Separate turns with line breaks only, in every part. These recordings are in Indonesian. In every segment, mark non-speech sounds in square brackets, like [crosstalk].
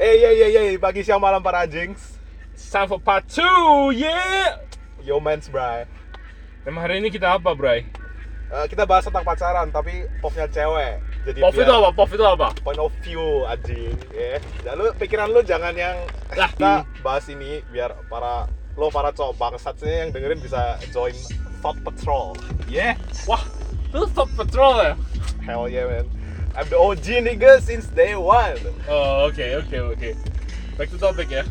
Eh, yeah, yeah, yeah. Pagi, siang, malam, para jinx.
It's time for part 2, yeah!
Yo, mens, bray.
Emang hari ini kita apa, Bray?
Eh, kita bahas tentang pacaran, tapi popnya cewek. Jadi
Pov
biar
itu apa? Pov itu apa?
Point of view, anjing. Ya. Dan lu, pikiran lu jangan yang...
Lah. hmm.
Kita bahas ini biar para... Lo para cowok bangsatnya yang dengerin bisa join Thought Patrol. Yeah.
Wah, itu top patrol ya?
Hell yeah, man. I'm the OG nigga since day one.
Oh, oke, oke, oke. Back to topic [laughs] ya.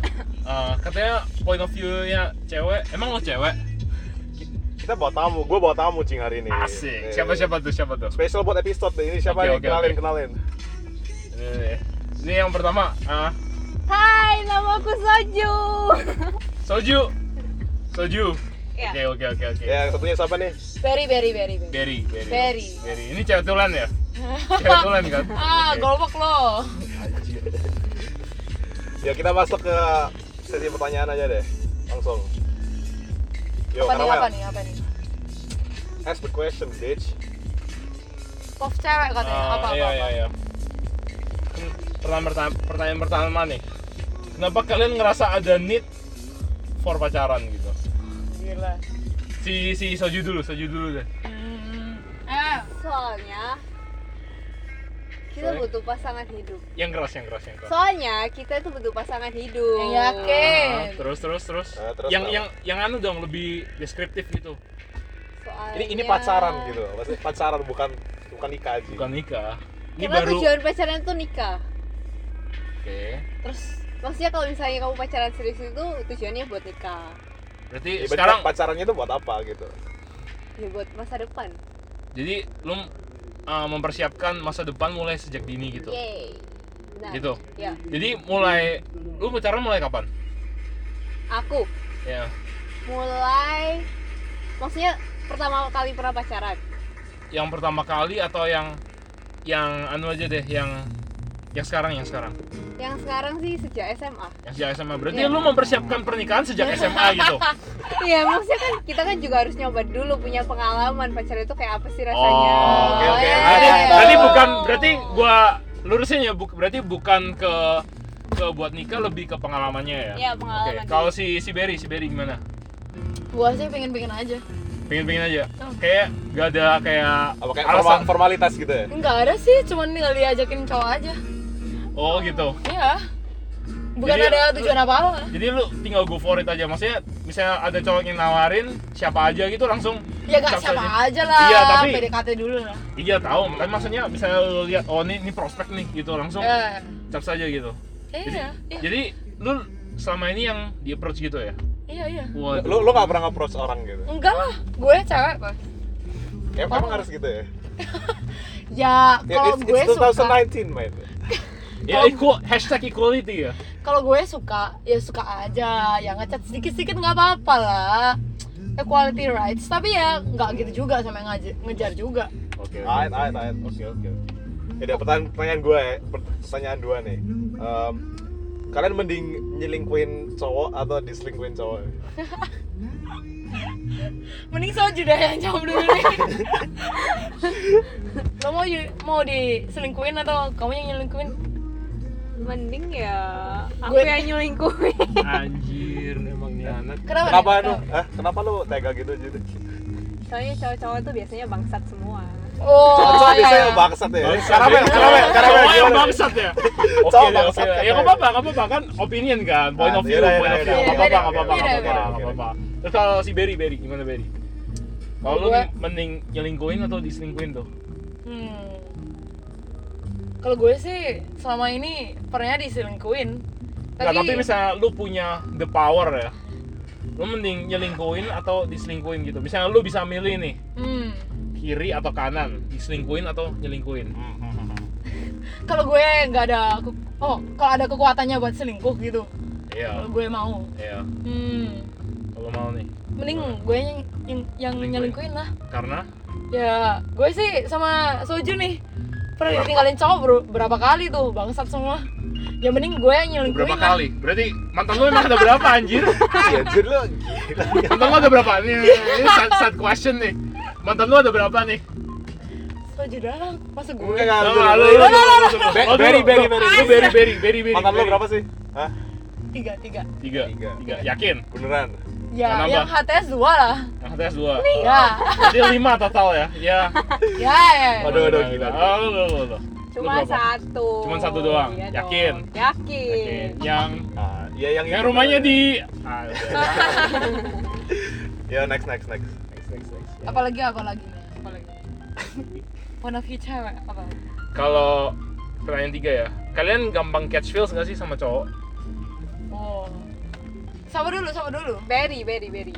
Eh, katanya point of view-nya cewek. Emang lo cewek?
Kita bawa tamu, gue bawa tamu cing hari ini. Eh,
Asik. Siapa-siapa tuh? Siapa tuh?
Special buat episode ini siapa nih?
Oke, oke,
kenalin,
oke.
kenalin.
Ini, ini. Ini yang pertama, ah,
Hai, nama aku Soju.
Soju. Soju.
Ya.
Oke, oke, oke, oke.
Ya, yang satunya siapa nih?
Berry, berry, berry, berry.
Berry, Berry.
Berry.
Berry. Ini cewek tulan
[laughs]
ya? Cewek tulan kan?
Ah,
Oke.
golok lo.
Ya kita masuk ke sesi pertanyaan aja deh, langsung. Yo,
Apa nih,
Karamel,
apa
ya?
nih, apa nih?
Ask the question, bitch.
Pop cewek katanya,
Ah,
apa, apa,
iya,
apa.
iya, iya. Hmm, Pertanyaan, pertanyaan, pertanyaan pertama nih. Kenapa kalian ngerasa ada need for pacaran gitu?
Gila.
Si si Soju dulu, Soju dulu deh.
Hmm. Eh,
Soalnya kita
Soalnya?
butuh pasangan hidup.
Yang keras, yang keras, yang keras.
Soalnya kita itu butuh pasangan hidup.
Ah,
yang Iya, yakin.
terus terus terus.
Ah, terus
yang
apa?
yang yang anu dong lebih deskriptif gitu.
Ini
Soalnya
Eh, iya.
ini pacaran gitu, maksudnya pacaran bukan bukan nikah aja.
Bukan nikah. Ini
Karena
baru. Oke.
tujuan pacaran tuh nikah. Terus maksudnya kalau misalnya kamu pacaran serius itu tujuannya buat nikah.
Berarti
Ya, berarti
sekarang
pacarannya itu buat apa gitu?
Ya buat masa depan.
jadi lu ah, mempersiapkan masa depan mulai sejak dini gitu.
Yeay. Benar.
Gitu.
Ya,
Jadi mulai lu pacaran mulai kapan?
aku
Ya.
mulai maksudnya pertama kali pernah pacaran.
yang pertama kali atau yang yang anu aja deh yang yang sekarang yang sekarang
Yang sekarang sih sejak SMA.
yang sejak SMA berarti
Iya.
lu mempersiapkan pernikahan sejak SMA gitu
Iya, maksudnya kan kita kan juga harus nyoba dulu punya pengalaman pacaran itu kayak apa sih
oh
[laughs] rasanya.
oke oke berarti,
Ya, ya, ya.
berarti bukan berarti gua lurusin ya bu- berarti bukan ke ke buat nikah lebih ke pengalamannya ya
Iya,
oke
pengalaman.
kalau si si Berry si Berry gimana
Gua sih pengen-pengen aja.
pengen pengen aja kayak gak ada kayak
Apa kayak
alasan
forma- formalitas gitu ya?
Enggak ada sih, cuman tinggal diajakin cowok aja.
oh gitu
Iya. Bukan
Jadi,
ada tujuan apa-apa.
jadi lu tinggal go for it aja maksudnya misalnya ada cowok yang nawarin siapa aja gitu langsung
Ya nggak
Cap
siapa
saja.
aja lah.
Iya, tapi-
PDKT dulu lah.
Iya tahu, tapi maksudnya misalnya lu lihat oh ini, ini prospek nih gitu langsung
Eh,
cap saja gitu.
Iya, iya,
Jadi lu selama ini yang di approach gitu ya?
iya, iya.
Waduh.
Lu lu gak pernah nge-approach orang gitu?
Enggak lah, gue cewek kok.
Ya, emang harus gitu ya?
Ya,
Ya,
kalau
it's,
gue
it's
suka,
2019, man.
ya equal hashtag equality ya.
kalau gue suka ya suka aja ya ngecat sedikit sedikit nggak apa apa lah equality rights tapi ya nggak gitu juga sama yang ngaji- ngejar juga
Oke.
Ait, ait, ait. Oke, oke. Jadi pertanyaan, pertanyaan gue, ya, pertanyaan dua nih. Em, kalian mending nyelingkuin cowok atau diselingkuin cowok?
mending soju deh yang jawab dulu
[laughs]
nih lo mau di- mau diselingkuin atau kamu yang nyelingkuin
Mending ya aku
Gue-
yang nyelingkuhin.
Anjir, emang nih anak.
kenapa nih?
Kenapa lu? Hah? kenapa lu tega gitu jadi?
Soalnya cowok-cowok tuh biasanya bangsat semua.
oh
Cowok
iya,
biasanya
iya.
bangsat ya.
Bangsat,
Karamel,
ya.
karamel, karamel.
Cowok yang
gimana?
bangsat ya. Oke,
Cowok
deh, oke
bangsat,
deh. Ya
katanya.
enggak apa-apa, enggak apa-apa kan opinion kan, point
Ah,
of view,
iya, iya,
point of
iya,
view.
iya,
Enggak apa-apa,
beda,
enggak apa-apa,
beda,
enggak
beda.
apa-apa, enggak apa-apa. Terus kalau si Berry, Berry gimana Berry? Kalau lu
Gue-
mending nyelingkuin atau diselingkuin tuh?
Hmm. Kalau gue sih selama ini pernah diselingkuin.
Nggak, tapi misalnya lu punya the power ya lu mending nyelingkuin atau diselingkuin gitu misalnya lu bisa milih nih
Hmm.
kiri atau kanan diselingkuin atau nyelingkuin
Kalau gue nggak ada ke- oh, kalau ada kekuatannya buat selingkuh gitu. Kalau
iya
gue mau.
iya
Hmm.
kalau mau nih
Hmm.
Mending gue yang yang, yang
Selingkuhin.
nyelingkuin lah.
karena
Ya, gue sih sama Soju nih pernah ditinggalin cowok bro- berapa kali tuh bangsat semua. Ya mending gue yang nyelingkuin
berapa
lah.
kali berarti mantan lu emang ada berapa anjir
Iya, jadi lu gila.
mantan lu ada berapa ini, ini sad, sad question nih mantan lu ada berapa nih
Baju dong, masa gue?
Enggak, enggak.
Sama lu, lu, lu, lu, lu, lu.
Be-
Oh, dulu,
beri, beri, beri.
lu, Lu beri, beri, beri, beri.
Mantan lo
beri.
berapa sih? Hah?
Tiga, tiga
Tiga.
Tiga.
Tiga. Yakin?
Beneran?
Ya,
Nambah.
yang HTS dua lah
Yang HTS dua.
Ya,
Jadi lima total ya? Ya.
ya, ya
Aduh, aduh, gila.
Oh, lu, lu, lu, lu.
Cuma
Lu berapa?
satu.
Cuman satu doang?
Iya
Yakin?
dong. Yakin.
Yakin. Yang
Ah, ya yang
yang
itu.
rumahnya
[laughs]
di ah, udah.
Ya next next next.
Next, next, next. ya.
Apalagi, apalagi Apalagi One of you cewek, apa?
Kalau pertanyaan tiga ya, kalian gampang catch feels nggak sih sama cowok?
Oh Sama dulu, sama dulu
Berry, berry, berry.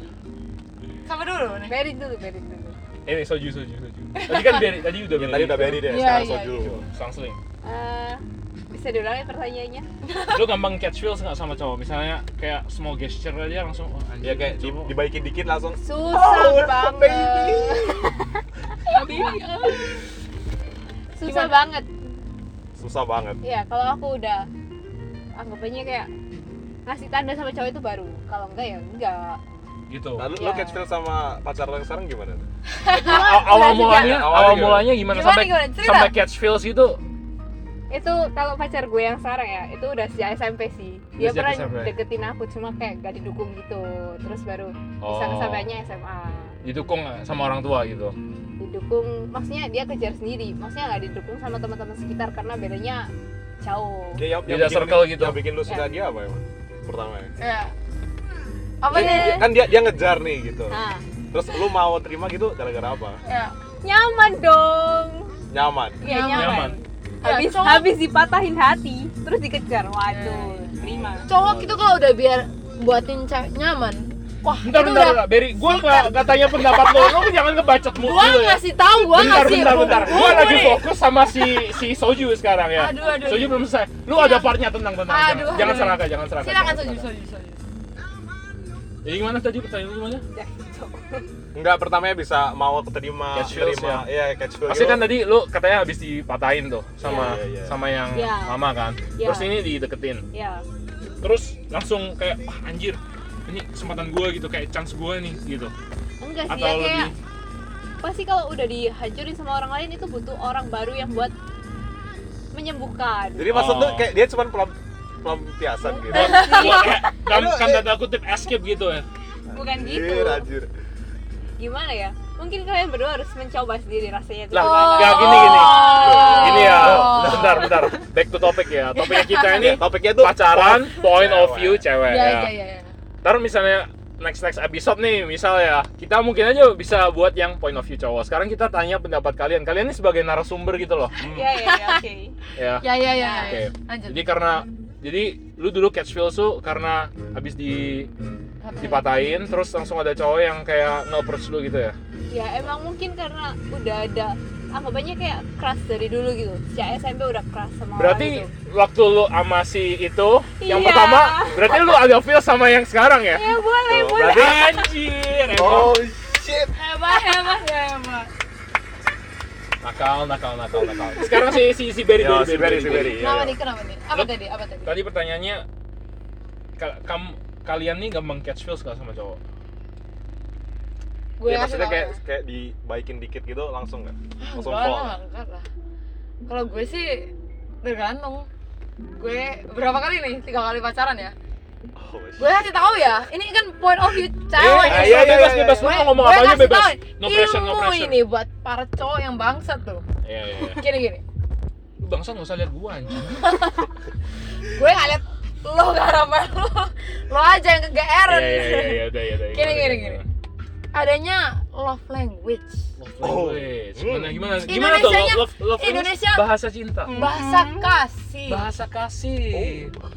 Sama dulu nih
Berry dulu, berry dulu.
Ini soju soju soju. Tadi kan beri, tadi udah
Ya,
beri.
tadi udah beri deh,
Iya,
sekarang
iya,
soju.
Sangsling.
Eh, bisa diulangi pertanyaannya?
Lu gampang catch feels nggak sama cowok? Misalnya kayak small gesture aja langsung. Oh, anjing,
Ya kayak di-
cowok.
dibaikin dikit langsung.
Susah
Oh, baby.
banget. ya. Susah
Gimana?
banget.
Susah banget.
Iya, kalau aku udah anggapannya kayak ngasih tanda sama cowok itu baru. Kalau enggak ya enggak.
gitu.
Lalu
Iya.
lo catch feel sama pacar lo yang sekarang gimana?
Aw- awal
Enggak juga.
mulanya,
Awalnya
awal
gimana?
mulanya gimana,
Gimana,
sampai
gimana? Cerita.
sampai catch feels itu
itu kalau pacar gue yang sekarang ya itu udah sejak SMP sih dia
Udah sejak
pernah
SMP.
deketin aku cuma kayak gak didukung gitu terus baru bisa
Oh.
kesampaiannya SMA
didukung nggak sama orang tua gitu.
didukung maksudnya dia kejar sendiri maksudnya nggak didukung sama teman-teman sekitar karena bedanya jauh
Ya, yang,
Beda circle gitu.
Yang bikin lo suka
Iya.
dia apa emang? Pertama ya.
Ya Apa
Iya.
nih?
Kan dia dia ngejar nih gitu.
nah
Terus lo mau terima gitu gara-gara apa?
Ya
nyaman dong
Nyaman.
Iya,
Nyaman.
Nyaman.
habis
Ya, cowok-
habis dipatahin hati terus dikejar waduh terima
Cowok itu kalau udah biar buatin cewek nyaman Wah,
Bentar,
itu
bentar,
udah-
bentar. Beri, gua nggak nggak tanya pendapat lo, lo jangan ngebacot mulu
gua
ya.
ngasih tahu gua
bentar,
ngasih
bentar, bentar.
hukum
Gua
gua
lagi
nih.
fokus sama si si Soju sekarang ya.
Aduh, aduh,
Soju
aduh.
belum selesai. Lu ada partnya tenang, tenang.
Aduh,
jangan,
aduh.
jangan seraka, jangan seraka.
silakan
jangan
soju
seraka.
soju soju
Jadi gimana tadi pertanyaan lu gimana?
gitu.
Enggak pertamanya bisa mau terima,
Catch feels, ya.
terima. Iya, catch feel.
Pasti
gitu.
kan tadi lu katanya habis dipatahin tuh
Iya,
sama
iya, iya.
sama yang
Iya.
lama kan.
Iya.
Terus ini dideketin.
ya
Terus langsung kayak ah, anjir. Ini kesempatan gua gitu, kayak chance gua nih gitu.
enggak sih ya
Atau
kayak
lebih
pasti kalau udah dihancurin sama orang lain itu butuh orang baru yang buat menyembuhkan
Jadi maksud lo
Oh.
kayak dia cuma pelam pelampiasan gitu.
[laughs]
gua kayak kan, kan
eh.
tanda kutip escape gitu ya.
bukan gitu
Anjir, anjir.
gimana ya mungkin kalian berdua harus mencoba sendiri rasanya itu
Lah,
gimana.
nggak gini gini. Gini ya,
Oh.
bentar bentar. Back to topic ya. Topiknya kita ini
Ya, topiknya tuh
pacaran point of
Cewek.
view
Iya,
cewek
ya
ya.
ya ya ya.
Ntar misalnya next next episode nih misalnya kita mungkin aja bisa buat yang point of view cowok. Sekarang kita tanya pendapat kalian. Kalian ini sebagai narasumber gitu loh.
ya ya ya, oke
Ya.
ya ya ya ya.
Oke.
lanjut
Jadi karena jadi lu dulu catch feel tuh karena habis di dipatahin terus langsung ada cowok yang kayak nge-approach lu gitu ya.
ya emang mungkin karena udah ada anggapannya kayak keras dari dulu gitu sejak SMP udah keras sama
Berarti
orang gitu.
waktu lu sama si itu yang
Iya.
pertama berarti lu agak feel sama yang sekarang
Iya.
ya?
ya boleh
Tuh,
boleh
berarti-
Anjir.
Oh shit.
hebat hebat hebat
Nakal, nakal, nakal, nakal. Sekarang si si si Berry,
Yo,
Berry,
si Berry, si Berry. Iya,
kenapa
iya.
nih kenapa nih apa
Lu-
tadi apa tadi
Tadi pertanyaannya, ka- kam- kalian nih gampang catch feels gak sama cowok?
gue
ya,
ngasih
maksudnya
tau
kayak
ya.
kayak dibaikin dikit gitu langsung nggak? Langsung
enggak
fall.
lah enggak lah kalau gue sih tergantung gue berapa kali nih tiga kali pacaran ya
Oh, shit.
gue kasih tahu ya ini kan point of view cewek
iya,
Eh,
iya,
iya,
iya,
bebas,
iya.
bebas. Lu
Gue-
mau ngomong
gue
apa aja
kasih
bebas.
tau,
No pressure, no
ilmu
pressure.
ini buat para cowok yang bangsat tuh
Iya, iya, iya.
gini gini
Lu bangsa gak usah liat gua anjing.
gue gak liat lo gak harapan lo lo aja yang kegeeran
Iya, iya, iya, iya, udah, iya, udah.
Gini, gini, gini. adanya love language
Love
Oh.
language. Gimana, gimana, gimana tuh
Indonesianya-
love, love language?
Indonesia- Hmm.
Bahasa cinta.
bahasa kasih
Bahasa kasih.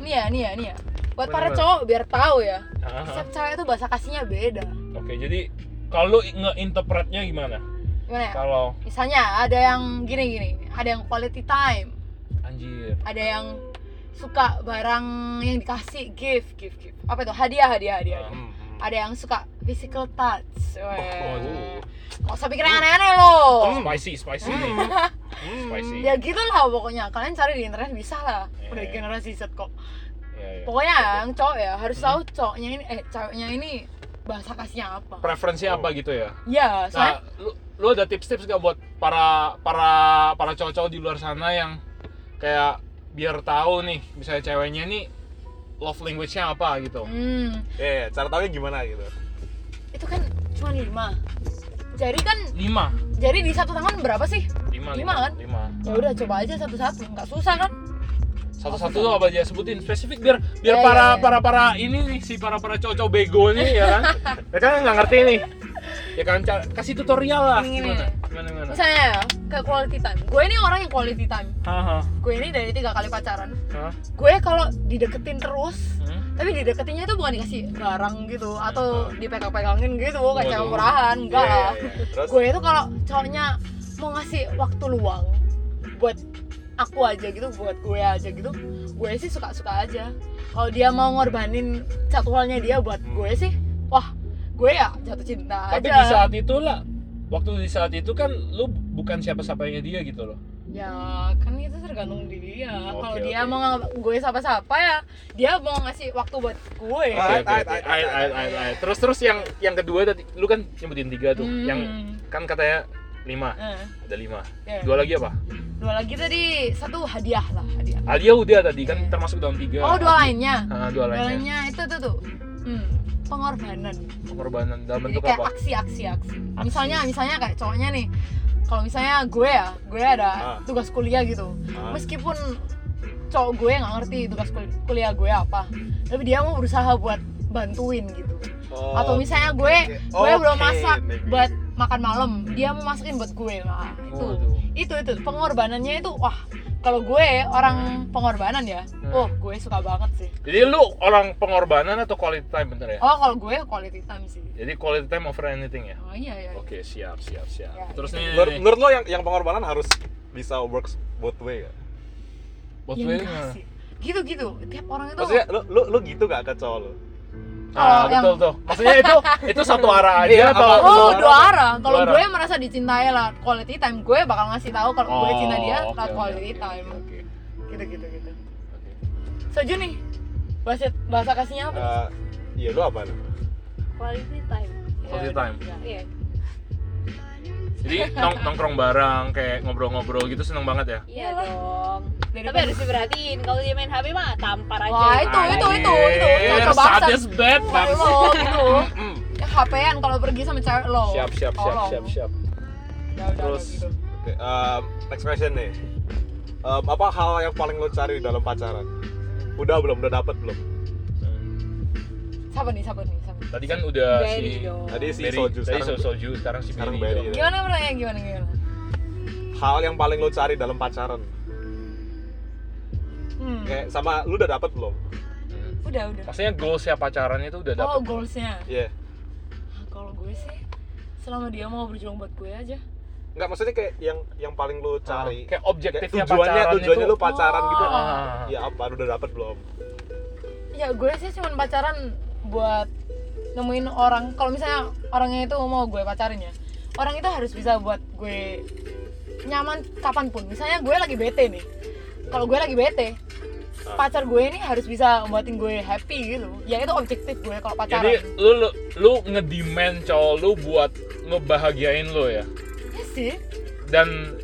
nih ya nih ya nih ya buat para
Bener-bener.
cowok biar tahu ya
Aha.
setiap cewek tuh bahasa kasihnya beda
Ah, Oke, jadi kalau lu nge-interpretnya gimana?
gimana ya
Kalau
misalnya ada yang gini gini ada yang quality time
anjir.
ada yang suka barang yang dikasih gift gift gift apa itu hadiah hadiah hadiah
Ah.
Hmm.
ada yang suka physical touch Wah.
waduh. Oh,
nggak usah pikir yang aneh-aneh lo
Spicy, spicy nih. Spicy.
Oh. ya gitu lah pokoknya kalian cari di internet bisa lah udah
Iya.
generasi Z kok
Iya, Hmm. iya.
pokoknya yang cowok ya harus tahu cowoknya ini eh cowoknya ini bahasa kasihnya apa
preferensinya
Oh.
apa gitu ya
ya soalnya
nah lu, lu ada tips-tips gak buat para para para cowok-cowok di luar sana yang kayak biar tahu nih misalnya ceweknya nih love language-nya apa gitu
hmm,
Iya, iya, cara taunya gimana gitu.
itu kan cuma lima jari kan
lima
jari di satu tangan berapa sih
lima
Lima kan?
lima
ya udah coba aja satu-satu nggak susah kan
satu-satu tuh apa aja sebutin spesifik biar biar
Ya, ya,
para
ya.
para para ini nih si para para cowok-cowok bego nih
[laughs]
ya kan mereka kan nggak ngerti nih ya kan ca- kasih tutorial lah
Gini,
gimana
gini.
gimana gimana
misalnya ya, ke quality time gue ini orang yang quality time
Haha.
gue ini dari tiga kali pacaran
Hah?
gue kalau dideketin terus
Hmm?
tapi dideketinnya itu bukan dikasih garang gitu atau
Hmm.
dipegang-pegangin gitu kayak cewek
Waduh.
murahan enggak
Iya, iya,
lah
iya. Terus
gue itu kalau cowoknya mau ngasih waktu luang buat aku aja gitu buat gue aja gitu gue sih suka-suka aja kalau dia mau ngorbanin satu halnya dia buat gue sih wah gue ya jatuh cinta
Hmm. tapi
aja
di saat itu lah waktu di saat itu kan lu bukan siapa-siapanya dia gitu loh
ya kan itu tergantung dia
Oke,
kalau dia
oke.
mau nggak gue sapa-sapa ya dia mau ngasih waktu buat gue
Ah, Ait,
Oke, oke,
ait,
oke.
ait,
Ait,
ait,
ait, ait, ait. terus terus yang yang kedua tadi lu kan nyebutin tiga tuh
Hmm.
yang kan katanya lima
Eh,
ada lima
ya.
dua lagi apa
dua lagi tadi satu hadiah lah hadiah
Alia udah tadi kan
Iya.
termasuk dalam tiga
oh dua lainnya
Ah, dua
dua
lainnya
lainnya itu tuh tuh hmm, pengorbanan
pengorbanan dalam
jadi
bentuk
kayak
apa
aksi aksi aksi misalnya misalnya kayak cowoknya nih kalau misalnya gue ya gue ada
Ah.
tugas kuliah gitu
Ah.
meskipun cowok gue nggak ngerti tugas kul- kuliah gue apa tapi dia mau berusaha buat bantuin gitu
Oh,
atau misalnya gue
oke.
gue belum
Oke,
masak
maybe.
buat makan malam dia mau masakin buat gue lah itu
Waduh.
itu itu pengorbanannya itu wah kalau gue orang pengorbanan ya
Hmm.
oh gue suka banget sih
jadi lu orang pengorbanan atau quality time bener ya
oh kalau gue quality time sih
jadi quality time over anything ya
oh iya iya
oke siap siap siap
Ya,
terus
gitu.
nih
Menurut, menurut lo yang yang pengorbanan harus bisa works both way gak?
buat
Ya
gue
enggak
gimana?
sih. gitu-gitu Gitu, tiap orang itu
Maksudnya lo, lo, lo gitu gak ke cowok lo?
ah
Kalau Oh, yang-
betul tuh maksudnya itu itu satu [laughs] arah
Iya,
aja atau
apa-
oh
Dua
dua
arah.
arah kalau
eh, Dua arah.
gue merasa dicintai lah quality time gue bakal ngasih tahu kalau gue cinta dia
Oh, oke,
lewat
oke,
quality
oke,
time
oke, oke.
gitu-gitu gitu
Oke.
Soju nih bahasa bahasa kasihnya apa
Eh, Iya lo apa?
Quality time.
Quality time.
Iya.
Jadi nong- nongkrong bareng kayak ngobrol-ngobrol gitu seneng banget ya.
Iya
Iyalah.
dong.
Dari
Tapi harus diperhatiin kalau dia main HP mah tampar aja.
Wah, Ah,
Ah.
itu, itu, itu, itu,
Anjir,
cocok banget.
sadis banget,
Bukan
Bang.
lo gitu ya HP-an kalau pergi sama cewek lo
Siap, siap, siap,
Tolong.
siap, siap.
ya udah
Terus.
Terus. gitu
Oke, em, Eh, um, next question nih. Em, apa hal yang paling lo cari dalam pacaran? Udah belum? Udah dapet belum?
siapa nih siapa nih siapa nih?
Hmm, Tadi kan udah si
Berry dong.
Tadi si
Berry,
Soju
tadi
sekarang.
so- Soju, sekarang si
sekarang
Berry.
Berry.
dong.
gimana pertanyaan gimana gimana
Hal yang paling lo cari dalam pacaran?
hmm.
Kayak sama lu udah dapet belum?
Hmm.
udah udah
Maksudnya goals ya pacarannya itu udah
oh
dapet.
goalsnya
Iya.
Ah, kalau gue sih selama dia mau berjuang buat gue aja
Enggak maksudnya kayak yang yang paling lo cari.
Ah, kayak
Kayak
objektifnya
tujuannya
pacaran
tujuannya
itu.
lu pacaran gitu.
Oh.
Ah.
Ya apa? Lu udah dapet belum?
ya gue sih cuman pacaran buat nemuin orang kalau misalnya orangnya itu mau gue pacarin ya orang itu harus bisa buat gue nyaman kapanpun misalnya gue lagi bete nih kalau gue lagi bete
Ah.
pacar gue ini harus bisa buatin gue happy gitu ya itu objektif gue kalau
Jadi
pacaran Iya
lu lu, lu ngedemand cowok lu buat ngebahagiain lu ya.
ya sih
Dan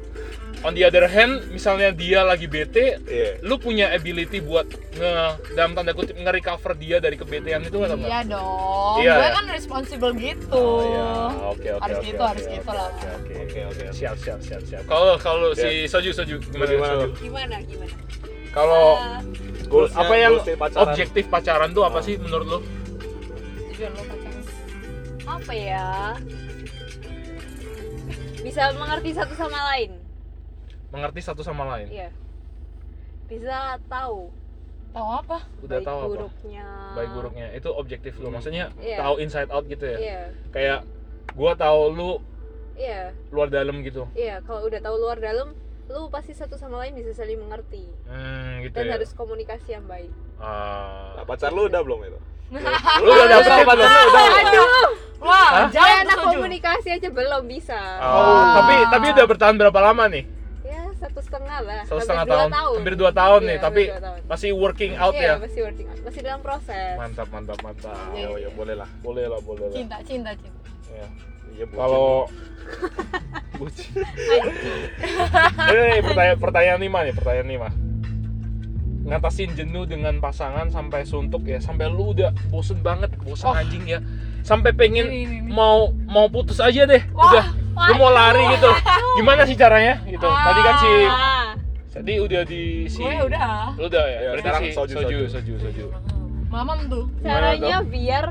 on the other hand, misalnya dia lagi bete,
Iya.
lu punya ability buat nge dalam tanda kutip nge-recover dia dari kebetean itu atau enggak?
iya dong
Iya,
gue
iya.
kan responsible gitu
Oh, iya. Oke, oke,
Harus
oke,
gitu,
oke,
harus
oke,
gitu
oke,
lah.
Oke, oke.
Oke oke.
Siap, siap, siap, siap. Kalau kalau
Ya.
si Soju Soju gimana?
Gimana
Soju?
lu?
Gimana gimana?
Kalau
Ah,
Goalsnya-
apa yang
goalsnya pacaran.
objektif pacaran tuh
Ah.
apa sih menurut lu?
tujuan lo pacaran
apa ya? Bisa mengerti satu sama lain.
Mengerti satu sama lain.
Iya. Bisa tahu
tahu apa
Udah
baik
tahu apa?
buruknya.
Baik buruknya. Itu objektif lu. Maksudnya
Iya.
tahu inside out gitu ya.
Iya.
Kayak gua tahu lu
Iya.
luar dalam gitu.
Iya, kalau udah tahu luar dalam, lu pasti satu sama lain bisa saling mengerti
Hmm, gitu ya.
dan harus komunikasi yang baik.
Nah,
Ah.
pacar lu udah belum itu?
Lu
[laughs]
udah dapet apa lu? Udah.
Aduh,
wah
Hah?
jangan
anak
Soju.
komunikasi aja belum bisa.
Oh, tapi tapi udah bertahan berapa lama nih?
Ya satu setengah lah
satu
hampir
setengah
dua
tahun, hampir dua tahun nih
Iya,
tapi
hampir dua tahun.
masih working out
Iya,
ya
masih working out. masih dalam proses
mantap mantap mantap
Iya,
ya, ya boleh lah boleh lah boleh lah
cinta cinta cinta
Ya.
Iya, bucin.
[laughs]
kalau bucin ini pertanyaan pertanyaan lima nih pertanyaan lima ngatasin jenuh dengan pasangan sampai suntuk ya sampai lu udah bosen banget bosen
Oh.
anjing ya sampai pengen
Ini, ini, ini.
mau mau putus aja deh udah lu mau lari gitu gimana sih caranya gitu tadi kan si
Ah,
tadi udah di si
gue udah
lu udah ya,
Ya,
berarti
sekarang
si
soju,
soju
soju.
soju soju
mamam tuh
caranya biar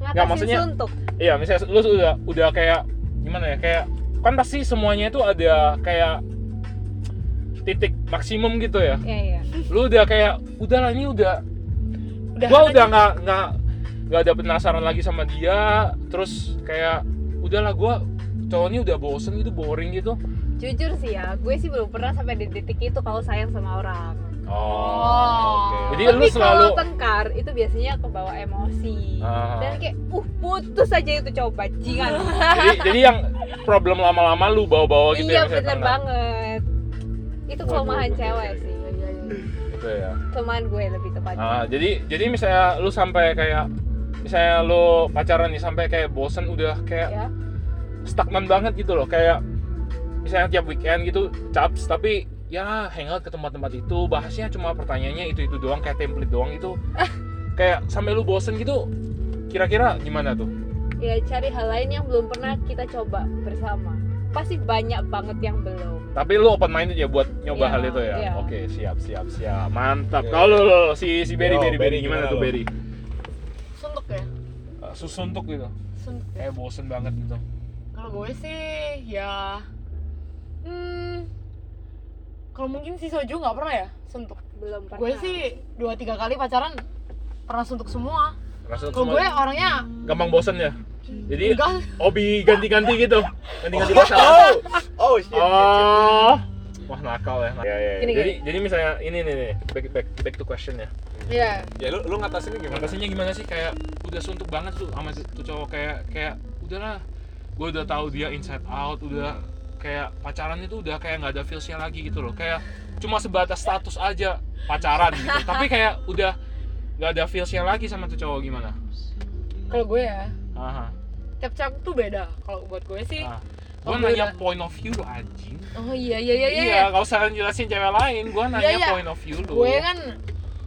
Nggak,
ngatasin
maksudnya-
suntuk
iya misalnya lu udah udah kayak gimana ya kayak kan pasti semuanya itu ada kayak titik maksimum gitu ya
iya iya
lu udah kayak udahlah ini udah
udah
gua udah nggak nggak nggak ada penasaran lagi sama dia terus kayak udahlah gua cowok ini udah bosen gitu boring gitu
jujur sih ya gue sih belum pernah sampai di titik itu kalau sayang sama orang
Oh.
oke.
Jadi- lu
tapi
selalu-
kalau tengkar itu biasanya kebawa emosi
Ah.
dan kayak uh putus aja itu cowok
[laughs]
bajingan
jadi jadi yang problem lama-lama lu bawa-bawa gitu ya
iya
misalnya
bener
tanda.
banget itu
Waduh,
kelemahan
waduh,
cewek
iya,
sih
gitu ya
kelemahan gue lebih tepatnya
Ah, jadi jadi misalnya lu sampai kayak misalnya lu pacaran nih sampai kayak bosen udah kayak
ya
stagnan banget gitu loh kayak misalnya tiap weekend gitu caps tapi ya hangout ke tempat-tempat itu bahasnya cuma pertanyaannya itu itu doang kayak template doang
[laughs]
itu kayak sampai lu bosen gitu kira-kira gimana tuh
ya cari hal lain yang belum pernah kita coba bersama pasti banyak banget yang belum
tapi lu open minded ya buat nyoba
Iya,
hal itu ya
iya.
oke siap siap siap mantap
Iya.
kalau lo si si Berry
Yo,
Berry
Berry,
Berry gimana,
gimana
tuh
lo?
Berry
suntuk ya
Eh, susuntuk gitu
suntuk
kayak bosen banget gitu
kalau gue sih ya hmm kalau mungkin si soju nggak pernah ya suntuk
belum pernah
gue sih dua tiga kali pacaran pernah suntuk semua
Rasanya
kalau
semua ya?
gue orangnya
gampang bosen ya jadi
enggak
hobi ganti-ganti gitu ganti-ganti [laughs] pasangan
oh oh shit, shit, shit.
oh wah nakal ya
ya ya
Gini,
ya.
jadi jadi misalnya ini nih nih back back back to question ya
iya,
ya
ya lu lu ngatasinnya gimana
ngatasinnya gimana sih kayak udah suntuk banget tuh sama tuh cowok kayak kayak udahlah gue udah tahu dia inside out udah kayak pacaran itu udah kayak nggak ada feelsnya lagi gitu loh kayak cuma sebatas status aja pacaran gitu tapi kayak udah nggak ada feelsnya lagi sama tuh cowok gimana
kalau gue ya
Aha.
tiap cewek tuh beda kalau buat gue sih
Ah.
Oh,
Gua
gue
nanya
udah-
point of view lu anjing
oh iya iya iya iya,
Iya, gak usah jelasin cewek lain. Gua nanya
Iya, iya.
point of view lu.
gue kan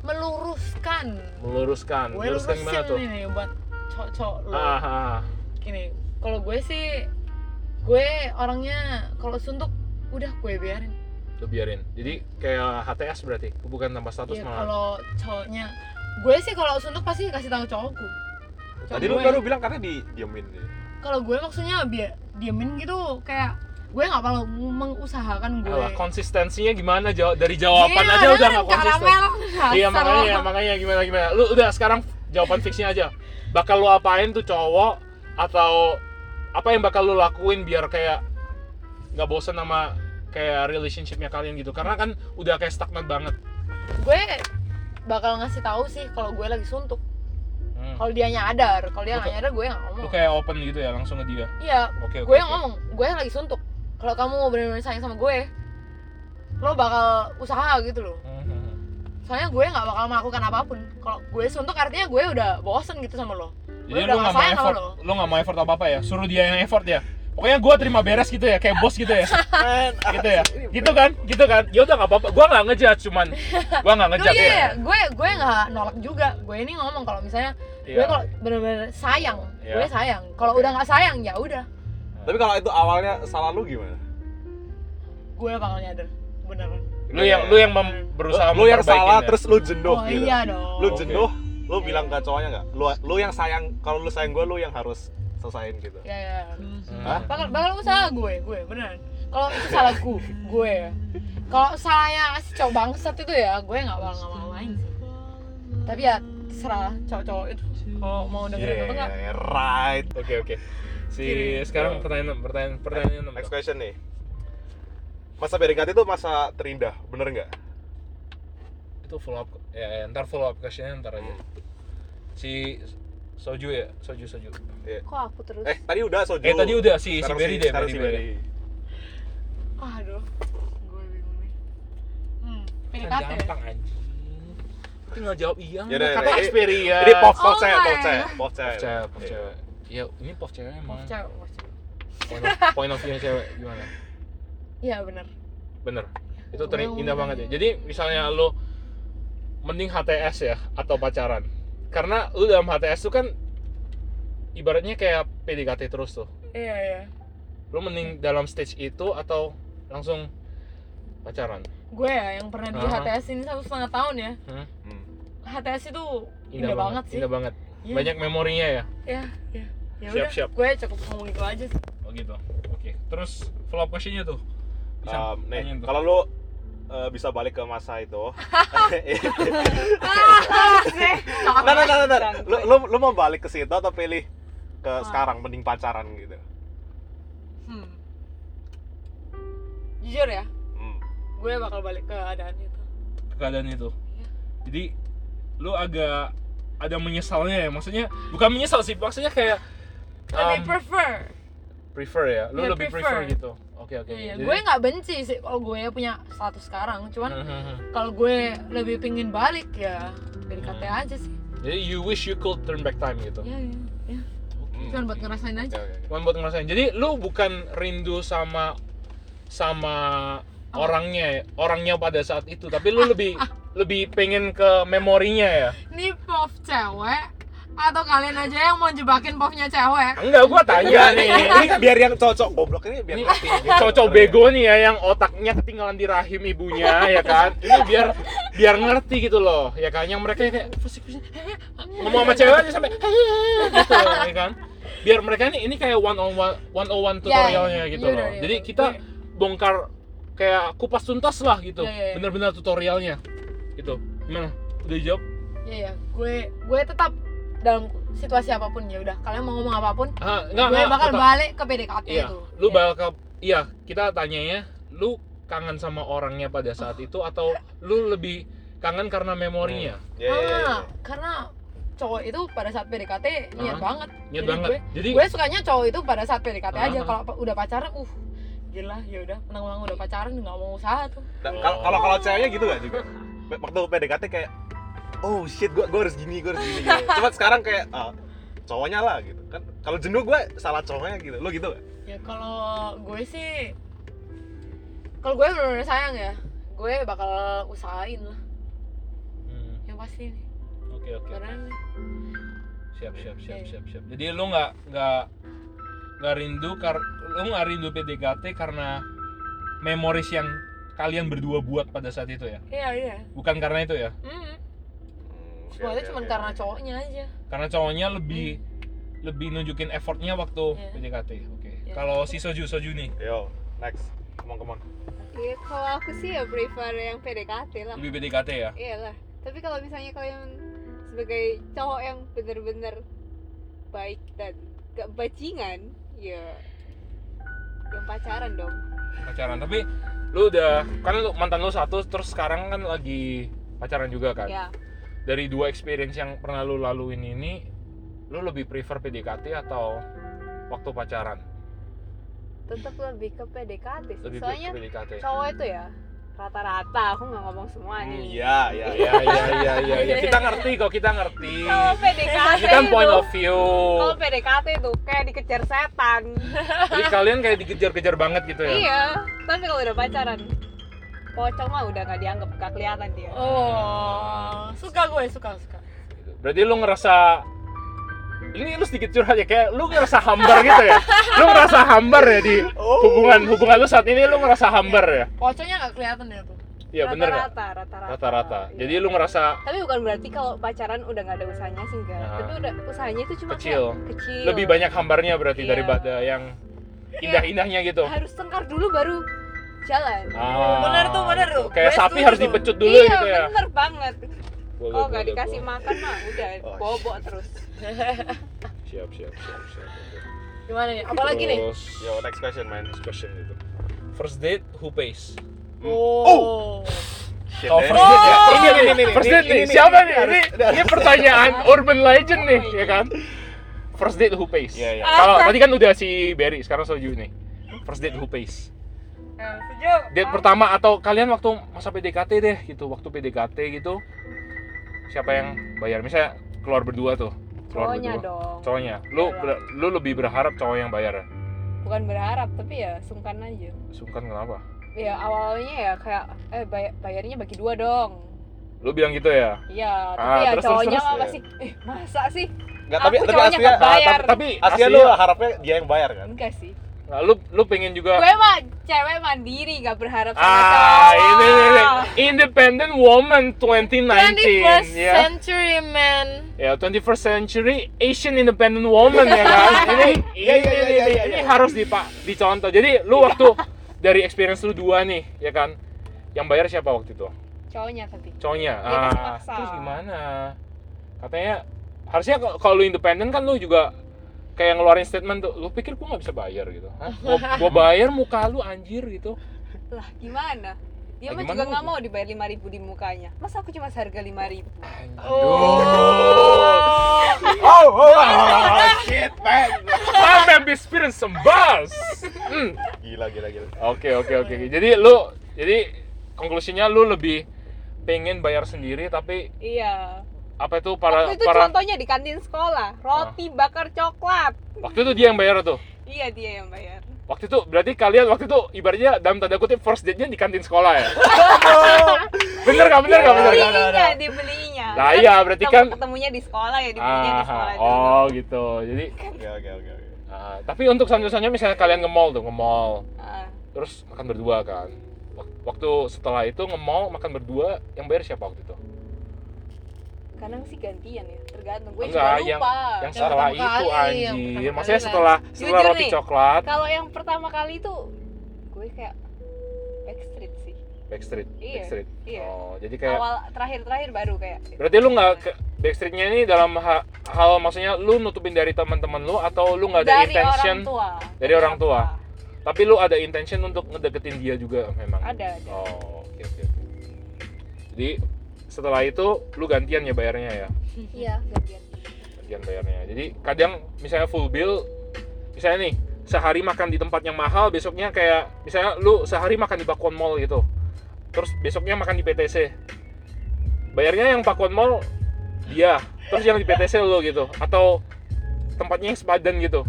meluruskan
meluruskan.
gue
Meluruskan gimana
lurusin
tuh?
ini buat cowok-cowok lo
Ah, ah, ah.
gini kalau gue sih gue orangnya kalau suntuk udah gue biarin
Lu biarin. Jadi kayak HTS berarti, bukan tambah status
Iya,
malah.
kalau cowoknya gue sih kalau suntuk pasti kasih tahu cowokku Cowok
tadi lu
gue.
baru bilang karena di diamin
kalau gue maksudnya biar diemin gitu kayak gue nggak perlu mengusahakan gue
Alah, konsistensinya gimana jaw- dari jawaban
Gila,
aja udah
kan
nggak konsisten.
karamel.
Iya,
Dasar lo.
makanya makanya gimana gimana. Lu udah sekarang jawaban fixnya aja. Bakal lu apain tuh cowok atau apa yang bakal lu lakuin biar kayak nggak bosen sama kayak relationshipnya kalian gitu karena kan udah kayak stagnan banget
gue bakal ngasih tahu sih kalau gue lagi suntuk
Hmm.
kalau dia nyadar kalau
Lu
dia nggak
kayak-
nyadar gue nggak ngomong
lu kayak open gitu ya langsung ke dia
iya
Oke, oke.
gue
oke.
yang ngomong gue lagi suntuk kalau kamu mau benar-benar sayang sama gue lo bakal usaha gitu loh
Mhm.
soalnya gue nggak bakal melakukan apapun kalau gue suntuk artinya gue udah bosen gitu sama lo
Jadi
Gue
lu nggak
udah nggak
mau
sayang sama
effort,
lo.
lu nggak mau effort apa apa ya? Suruh dia yang effort ya. Pokoknya gue terima beres gitu ya, kayak bos gitu ya, [laughs] [laughs] gitu ya, gitu kan, gitu kan. Ya udah nggak apa-apa, gue nggak ngejat, cuman gue nggak
Cuma
ngejat
iya,
ya.
iya, gue gue nggak nolak juga gue ini ngomong kalau misalnya gue
Iya.
kalau bener-bener sayang
Iya.
gue sayang kalau
Oke.
udah nggak sayang ya udah
tapi kalau itu awalnya salah lu gimana
gue bakal nyadar beneran
Lu yang lu yang mem- berusaha
lu yang
memperbaikin
salah
ya.
terus lu jenuh
oh
gitu
iya dong
lu
Oke.
jenuh lu
Iya.
bilang ke cowoknya nggak lu lu yang sayang kalau lu sayang gue lu yang harus selesain gitu
ya, ya.
Hmm.
Hah?
bakal bakal usaha gue gue beneran kalau itu salah gue gue ya. kalau salahnya si cowok bangsat itu ya gue nggak bakal nggak mau main sih tapi ya terserah cowok-cowok itu mau mau
Iya,
dengerin apa enggak
Yeah, Ya, right
Oke oke. Si sekarang pertanyaan pertanyaan pertanyaan enam.
next question nih masa PDKT itu masa terindah bener nggak
Itu follow up, ya, ya, ntar follow up questionnya ntar aja. Si Soju ya, Soju Soju.
kok aku terus
eh tadi udah soju
Eh tadi udah si si
Sekarang
Berry deh,
sekarang
Berry
si
Berry.
Berry.
aduh gue bingung nih Hmm, Pakai
kan
kata. ya?
gampang anjing. Tinggal jawab iya nggak,
Yaudah,
kata
yaudah.
experience.
Ini pop pop
Oh
cewek, pop
my.
cewek, pop
Pop
cewek.
cewek, pop cewek. Eh, Ya ini pop cewek emang.
Cewek, wah, cewek.
Point of, point of view cewek gimana?
Iya benar.
Bener. Itu teri- indah banget ya. Jadi misalnya lo mending HTS ya atau pacaran. Karena lu dalam HTS tuh kan ibaratnya kayak PDKT terus tuh.
Iya iya.
Lu mending dalam stage itu atau langsung pacaran.
Gue ya yang pernah di
Ah.
HTS ini satu setengah tahun ya.
Hmm?
Hmm.
HTS itu indah, banget, sih.
Indah banget.
Iya.
Banyak memorinya ya.
Ya, ya. Ya
Siap,
udah,
siap.
gue cukup ngomong itu aja sih.
Oh gitu. Oke. Terus follow up question-nya tuh.
Um, nih,
tanyain tuh.
kalau lu eh, bisa balik ke masa
[laughs]
itu. Nah, nah, nah, nah, nah. Lu, lu, lu mau balik ke situ atau pilih ke sekarang mending pacaran gitu.
Hmm. Jujur ya,
Hmm.
gue bakal balik ke keadaan itu.
keadaan itu.
Iya.
Jadi lu agak ada menyesalnya ya. Maksudnya bukan menyesal sih, maksudnya kayak
Lebih
um,
prefer.
prefer ya. Lu
Iya,
lebih
prefer.
prefer, gitu. Oke, oke.
Iya,
Jadi-
gue nggak benci sih kalau gue punya status sekarang, cuman
Mhm.
kalau gue lebih pingin balik ya dari
Hmm.
kata aja sih.
Jadi you wish you could turn back time gitu.
Ya, ya, ya.
Hmm.
Cuman buat ngerasain
Oke,
aja.
oke, oke.
Cuman buat ngerasain. Jadi lu bukan rindu sama sama orangnya, ya, orangnya pada saat itu, tapi lu
[laughs]
lebih lebih pengen ke memorinya ya.
Ini pop cewek atau kalian aja yang mau jebakin popnya cewek?
Enggak, gua
Ini,
tanya Iya,
[laughs]
nih.
Iya, ini biar yang cocok goblok ini biar
Ini
ngerti, gitu.
cocok bego nih ya yang otaknya ketinggalan di rahim ibunya ya kan ini biar biar ngerti gitu loh ya kan yang mereka kayak "Pusing, pusing, eh, eh," ngomong sama cewek aja sampai "Eh, eh," gitu ya kan biar mereka ini ini kayak one on one one on one tutorialnya
Ya,
gitu
yaudah,
loh
yaudah.
jadi kita bongkar kayak kupas tuntas lah gitu
Ya, ya, ya.
bener-bener tutorialnya gitu gimana udah jawab
Iya ya, gue gue tetap dalam situasi apapun ya udah. Kalian mau ngomong apapun,
ah, enggak,
gue
enggak,
bakal
tetap.
balik ke PDKT
Iya,
itu. Ah,
lu bakal iya kita tanyanya lu kangen sama orangnya pada saat
Ah.
itu atau lu lebih kangen karena memorinya
Iya, iya, iya, iya.
Ah, karena cowok itu pada saat PDKT niat
Ah,
banget.
Nyet
Jadi
banget
gue-
jadi
Gue sukanya cowok itu pada saat PDKT aja.
Ah.
Kalau pa- udah pacaran, uh gila ya udah menang-menang udah pacaran nggak mau usaha tuh.
Dan Nah, kalau kalau kalau ceweknya gitu gak juga. Waktu PDKT kayak oh shit gua gua harus gini, gua harus gini
[laughs]
gitu. Cuman sekarang kayak ah, cowoknya lah gitu kan. Kalau jenuh gua salah cowoknya gitu. Lu gitu gak?
Ya kalau gue sih kalau gue bener-bener sayang ya, gue bakal usahain lah
Hmm,
yang pasti nih.
oke oke
Karena
siap siap siap
Oke.
siap siap jadi lu nggak nggak nggak rindu kar lu nggak rindu PDKT karena memoris yang kalian berdua buat pada saat itu ya
iya iya.
bukan karena itu ya
Mm.
Hmm, oke,
Semuanya
oke,
cuma
oke.
karena cowoknya aja.
karena cowoknya lebih lebih nunjukin effortnya waktu
Hmm. Iya.
PDKT oke
Iya.
kalau si Soju Soju nih
Yo, next. Come on, come on.
Iya, kalau aku sih ya prefer yang PDKT lah.
lebih PDKT ya
Iyalah. Tapi kalau misalnya kalian sebagai cowok yang bener-bener baik dan gak bajingan, ya yang pacaran dong.
pacaran tapi lu udah kan lu mantan lu satu terus sekarang kan lagi pacaran juga kan
Ya,
dari dua experience yang pernah lu laluin ini lu lebih prefer PDKT atau waktu pacaran
tetap lebih ke PDKT sih.
lebih
Soalnya
pre- PDKT
cowok itu ya rata-rata aku nggak ngomong semua
Hmm,
nih.
Iya, iya, iya.
ya ya ya ya ya kita ngerti kok kita ngerti
Kalau PDKT
kita
itu,
kan point of view
kalau PDKT itu kayak dikejar setan.
jadi kalian kayak dikejar-kejar banget gitu ya
Iya, tapi kalau udah pacaran, pocong mah udah nggak dianggap, nggak kelihatan dia.
Oh, suka gue, suka, suka.
berarti lu ngerasa ini lu sedikit curhat ya kayak lu ngerasa hambar gitu ya lu ngerasa hambar ya di hubungan hubungan lu saat ini lu ngerasa hambar ya
Pocongnya nggak kelihatan ya tuh.
iya bener nggak?
Rata-rata, rata-rata.
rata-rata
Iya.
jadi lu ngerasa
Tapi bukan berarti kalau pacaran udah nggak ada usahanya sih enggak.
Nah.
Tapi udah usahanya itu cuma
Kecil.
kayak kecil.
lebih banyak hambarnya berarti
Iya.
daripada yang indah-indahnya gitu
Harus tengkar dulu baru jalan.
Ah,
Bener tuh, bener tuh.
kayak
Gue
sapi
setuju
harus
tuh.
dipecut dulu
iya,
gitu ya
bener banget.
Boleh,
Kalau Oh, nggak
boleh,
dikasih
boleh.
makan mah udah
Oh,
bobok terus.
siap siap siap siap
Gimana nih? Apalagi nih?
Terus,
Yo, next question, man.
next question gitu first date who pays
Oh.
Shit,
Kalau
man.
first date ya,
Oh,
ini, ini, ini, first date nih, siapa nih? Ini, ini pertanyaan urban legend nih, ya kan? First date who pays?
Iya, iya.
Kalau tadi kan udah si Berry, sekarang Soju nih. First date who pays?
Nah, sejuk.
date pertama atau kalian waktu masa PDKT deh gitu waktu PDKT gitu siapa yang bayar misalnya keluar berdua tuh keluar
cowoknya
berdua
dong.
cowoknya lu
Iya.
ber- lu lebih berharap cowok yang bayar ya?
Bukan berharap, tapi ya sungkan aja.
sungkan kenapa
Ya awalnya ya kayak eh bay- bayarnya bagi dua dong.
lu bilang gitu ya
Iya, tapi
Ah,
ya
terus, terus,
cowoknya
terus,
mah
ya.
masih eh masa sih?
Nggak, tapi
Aku
tapi
cowoknya
aslinya
nggak Bayar.
Ah, tapi tapi
aslinya lu harapnya dia yang bayar kan
Enggak sih.
nah, lu lu pengen juga
Gue mah cewek mandiri, gak berharap sama
ah
cowok.
ini, ini, ini. independent woman 2019
21st
ya
century man
ya 21st century Asian independent woman ya
[laughs]
kan ini
Iya, iya,
ini,
iya,
ini,
iya,
ini,
iya,
ini
iya.
harus dipa, dicontoh jadi
Iya.
lu waktu dari experience lu dua nih ya kan yang bayar siapa waktu itu
Cowoknya tapi.
cowoknya
Dia kan
ah,
maksa.
terus gimana katanya harusnya kalau- kalau lu independen kan lu juga kayak ngeluarin statement tuh lu pikir gua nggak bisa bayar gitu Hah? Gua, gua bayar muka lu anjir gitu
Lah, gimana? Dia
Lah, Eh,
mah
gimana
juga nggak
mau?
mau dibayar 5000 di mukanya. Masa aku cuma seharga 5000?
oh oh, oh, oh, shit man
I'm have experience some buzz Hmm.
gila gila gila
Oke oke oke. Jadi lu jadi konklusinya lu lebih pengen bayar sendiri tapi
Iya.
apa itu para
Waktu itu
para Ah.
contohnya di kantin sekolah, roti bakar coklat.
waktu itu dia yang bayar tuh.
Iya, dia yang bayar.
Waktu itu berarti kalian waktu itu ibaratnya dalam tanda kutip first date-nya di kantin sekolah ya.
Oh.
bener gak bener gak bener
Iya.
gak?
Dibelinya, dibelinya.
Nah iya berarti
Ketemu-
kan
ketemunya di sekolah ya, dibelinya di
ah,
sekolah. dulu.
oh gitu. Jadi
oke oke oke oke.
ah, tapi untuk selanjutnya misalnya kalian nge-mall tuh, nge-mall.
Ah,
Terus makan berdua kan. Wak- Waktu setelah itu nge-mall makan berdua yang bayar siapa waktu
Iya,
itu?
kadang sih gantian ya, tergantung. Gue
Enggak,
juga lupa.
yang
Yang
setelah
pertama
itu
kali, yang
anjir
pertama
maksudnya
kali
setelah setelah
Jujur
roti
nih.
coklat
Kalau yang pertama kali itu gue kayak backstreet sih.
backstreet
Iya,
backstreet
iya.
oh jadi kayak
Awal terakhir-terakhir baru kayak.
berarti lu nggak ke- backstreetnya ini dalam ha- hal maksudnya lu nutupin dari teman-teman lu atau lu nggak ada
dari
intention
orang tua.
dari orang tua. tapi lu ada intention untuk ngedeketin dia juga memang
Ada, ada.
oh oke oke oke. jadi setelah itu lu gantian ya bayarnya ya
Iya, gantian.
gantian bayarnya jadi kadang misalnya full bill misalnya nih sehari makan di tempat yang mahal besoknya kayak misalnya lu sehari makan di Pakuan Mall gitu terus besoknya makan di PTC bayarnya yang Pakuan Mall dia terus yang di PTC lu gitu atau tempatnya yang sepadan gitu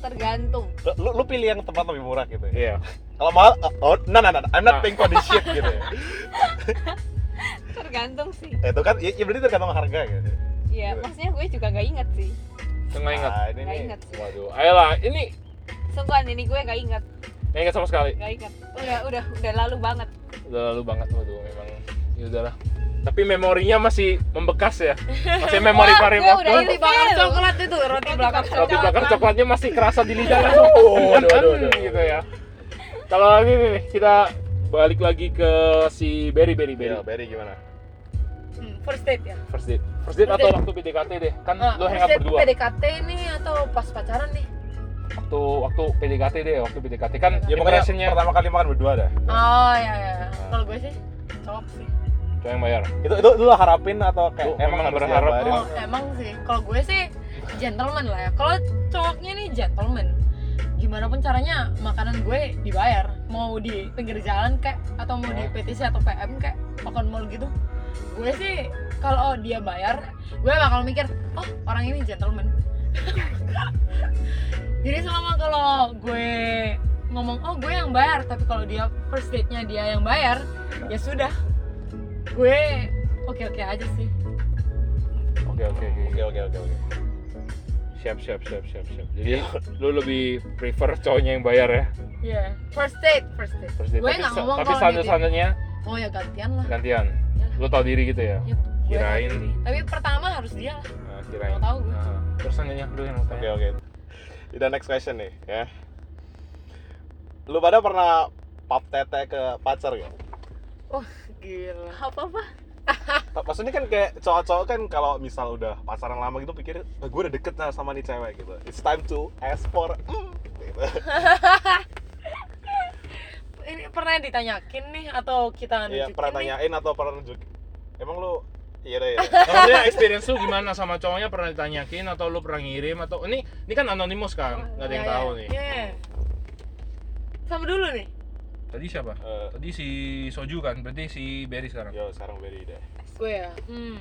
Tergantung.
lu lu pilih yang tempat lebih murah gitu ya
iya
kalau mahal oh no no no I'm
Nah.
not paying for this [laughs] shit gitu ya
Tergantung sih.
itu kan ya, ya berarti tergantung harga gitu
Iya,
Gimana?
maksudnya gue juga nggak inget sih.
nggak ingat
Ah, ini
Nggak
nih.
inget sih.
waduh ayolah ini
Sumpah ini gue nggak inget,
nggak ingat sama sekali
nggak inget. Udah, udah, udah lalu banget.
udah lalu banget waduh memang ya udahlah tapi memorinya masih membekas ya masih
[laughs]
memori
Oh,
Wah,
paling
gue udah
waktu
ingat.
roti bakar coklat itu Iya. roti
Roti
bakar
bakar
roti
coklat
bakar coklatnya masih kerasa di lidah langsung [laughs] oh,
aduh, aduh, aduh.
gitu ya kalau ini nih, kita balik lagi ke si Berry Berry Berry
Iya, Berry gimana?
Hmm, first date ya
first date first date
First
atau
date.
waktu PDKT deh kan
Ah,
lo
first
hangout
date
berdua
PDKT nih atau pas pacaran nih
waktu waktu PDKT deh waktu PDKT kan
Ya pokoknya
impressionnya
pertama kali makan berdua dah.
oh ya ya kalau gue sih cowok sih
cowok yang bayar
Itu itu lu harapin atau kayak
Lu emang
harus
berharap?
diabarin?
Oh, emang sih. Kalau gue sih gentleman lah ya. Kalau cowoknya nih gentleman. Gimana pun caranya makanan gue dibayar. Mau di pinggir jalan kayak atau mau di PTC atau PM kayak makan mall gitu. Gue sih kalau dia bayar, gue bakal mikir, "Oh, orang ini gentleman." [laughs] Jadi selama kalau gue ngomong, "Oh, gue yang bayar," tapi kalau dia first date-nya dia yang bayar, ya sudah. Gue oke-oke aja sih.
oke oke oke
Oke oke oke oke.
Iya. siap siap siap siap siap jadi lu lebih prefer cowoknya yang bayar ya
Iya, first date, first date.
first date
Gue
tapi
nggak
sa-
ngomong
tapi
kalau
standar
gitu.
standarnya
Oh ya gantian lah.
gantian lu tau diri gitu ya
Ya, gue
Kirain.
ganti. Tapi pertama harus dia lah.
Nah, kirain
Nggak tahu gue.
Nah, terus nanya dulu yang mau
Oke
tanya
oke. Kita next question nih ya. Lu pada pernah pap tete ke pacar gak?
Oh gila.
Apa apa?
Ta- Maksudnya kan kayak cowok-cowok kan kalau misal udah pacaran lama gitu pikir "Ah, gue udah deket lah sama nih cewek gitu. It's time to ask for mm, gitu.
Ini pernah ditanyakin nih atau kita nunjukin
Iya, pernah
nih?
tanyain atau pernah nunjuk. Emang lu iya deh ya.
Maksudnya experience lu gimana sama cowoknya pernah ditanyakin atau lu pernah ngirim atau ini ini kan anonimus kan nggak ada yang
Oh, Iya,
tahu
iya.
nih
Iya. Sama dulu nih.
Tadi siapa?
Eh,
Tadi si Soju kan, berarti si Berry sekarang.
[laughs] yo sekarang beri deh
gue ya [laughs] hmm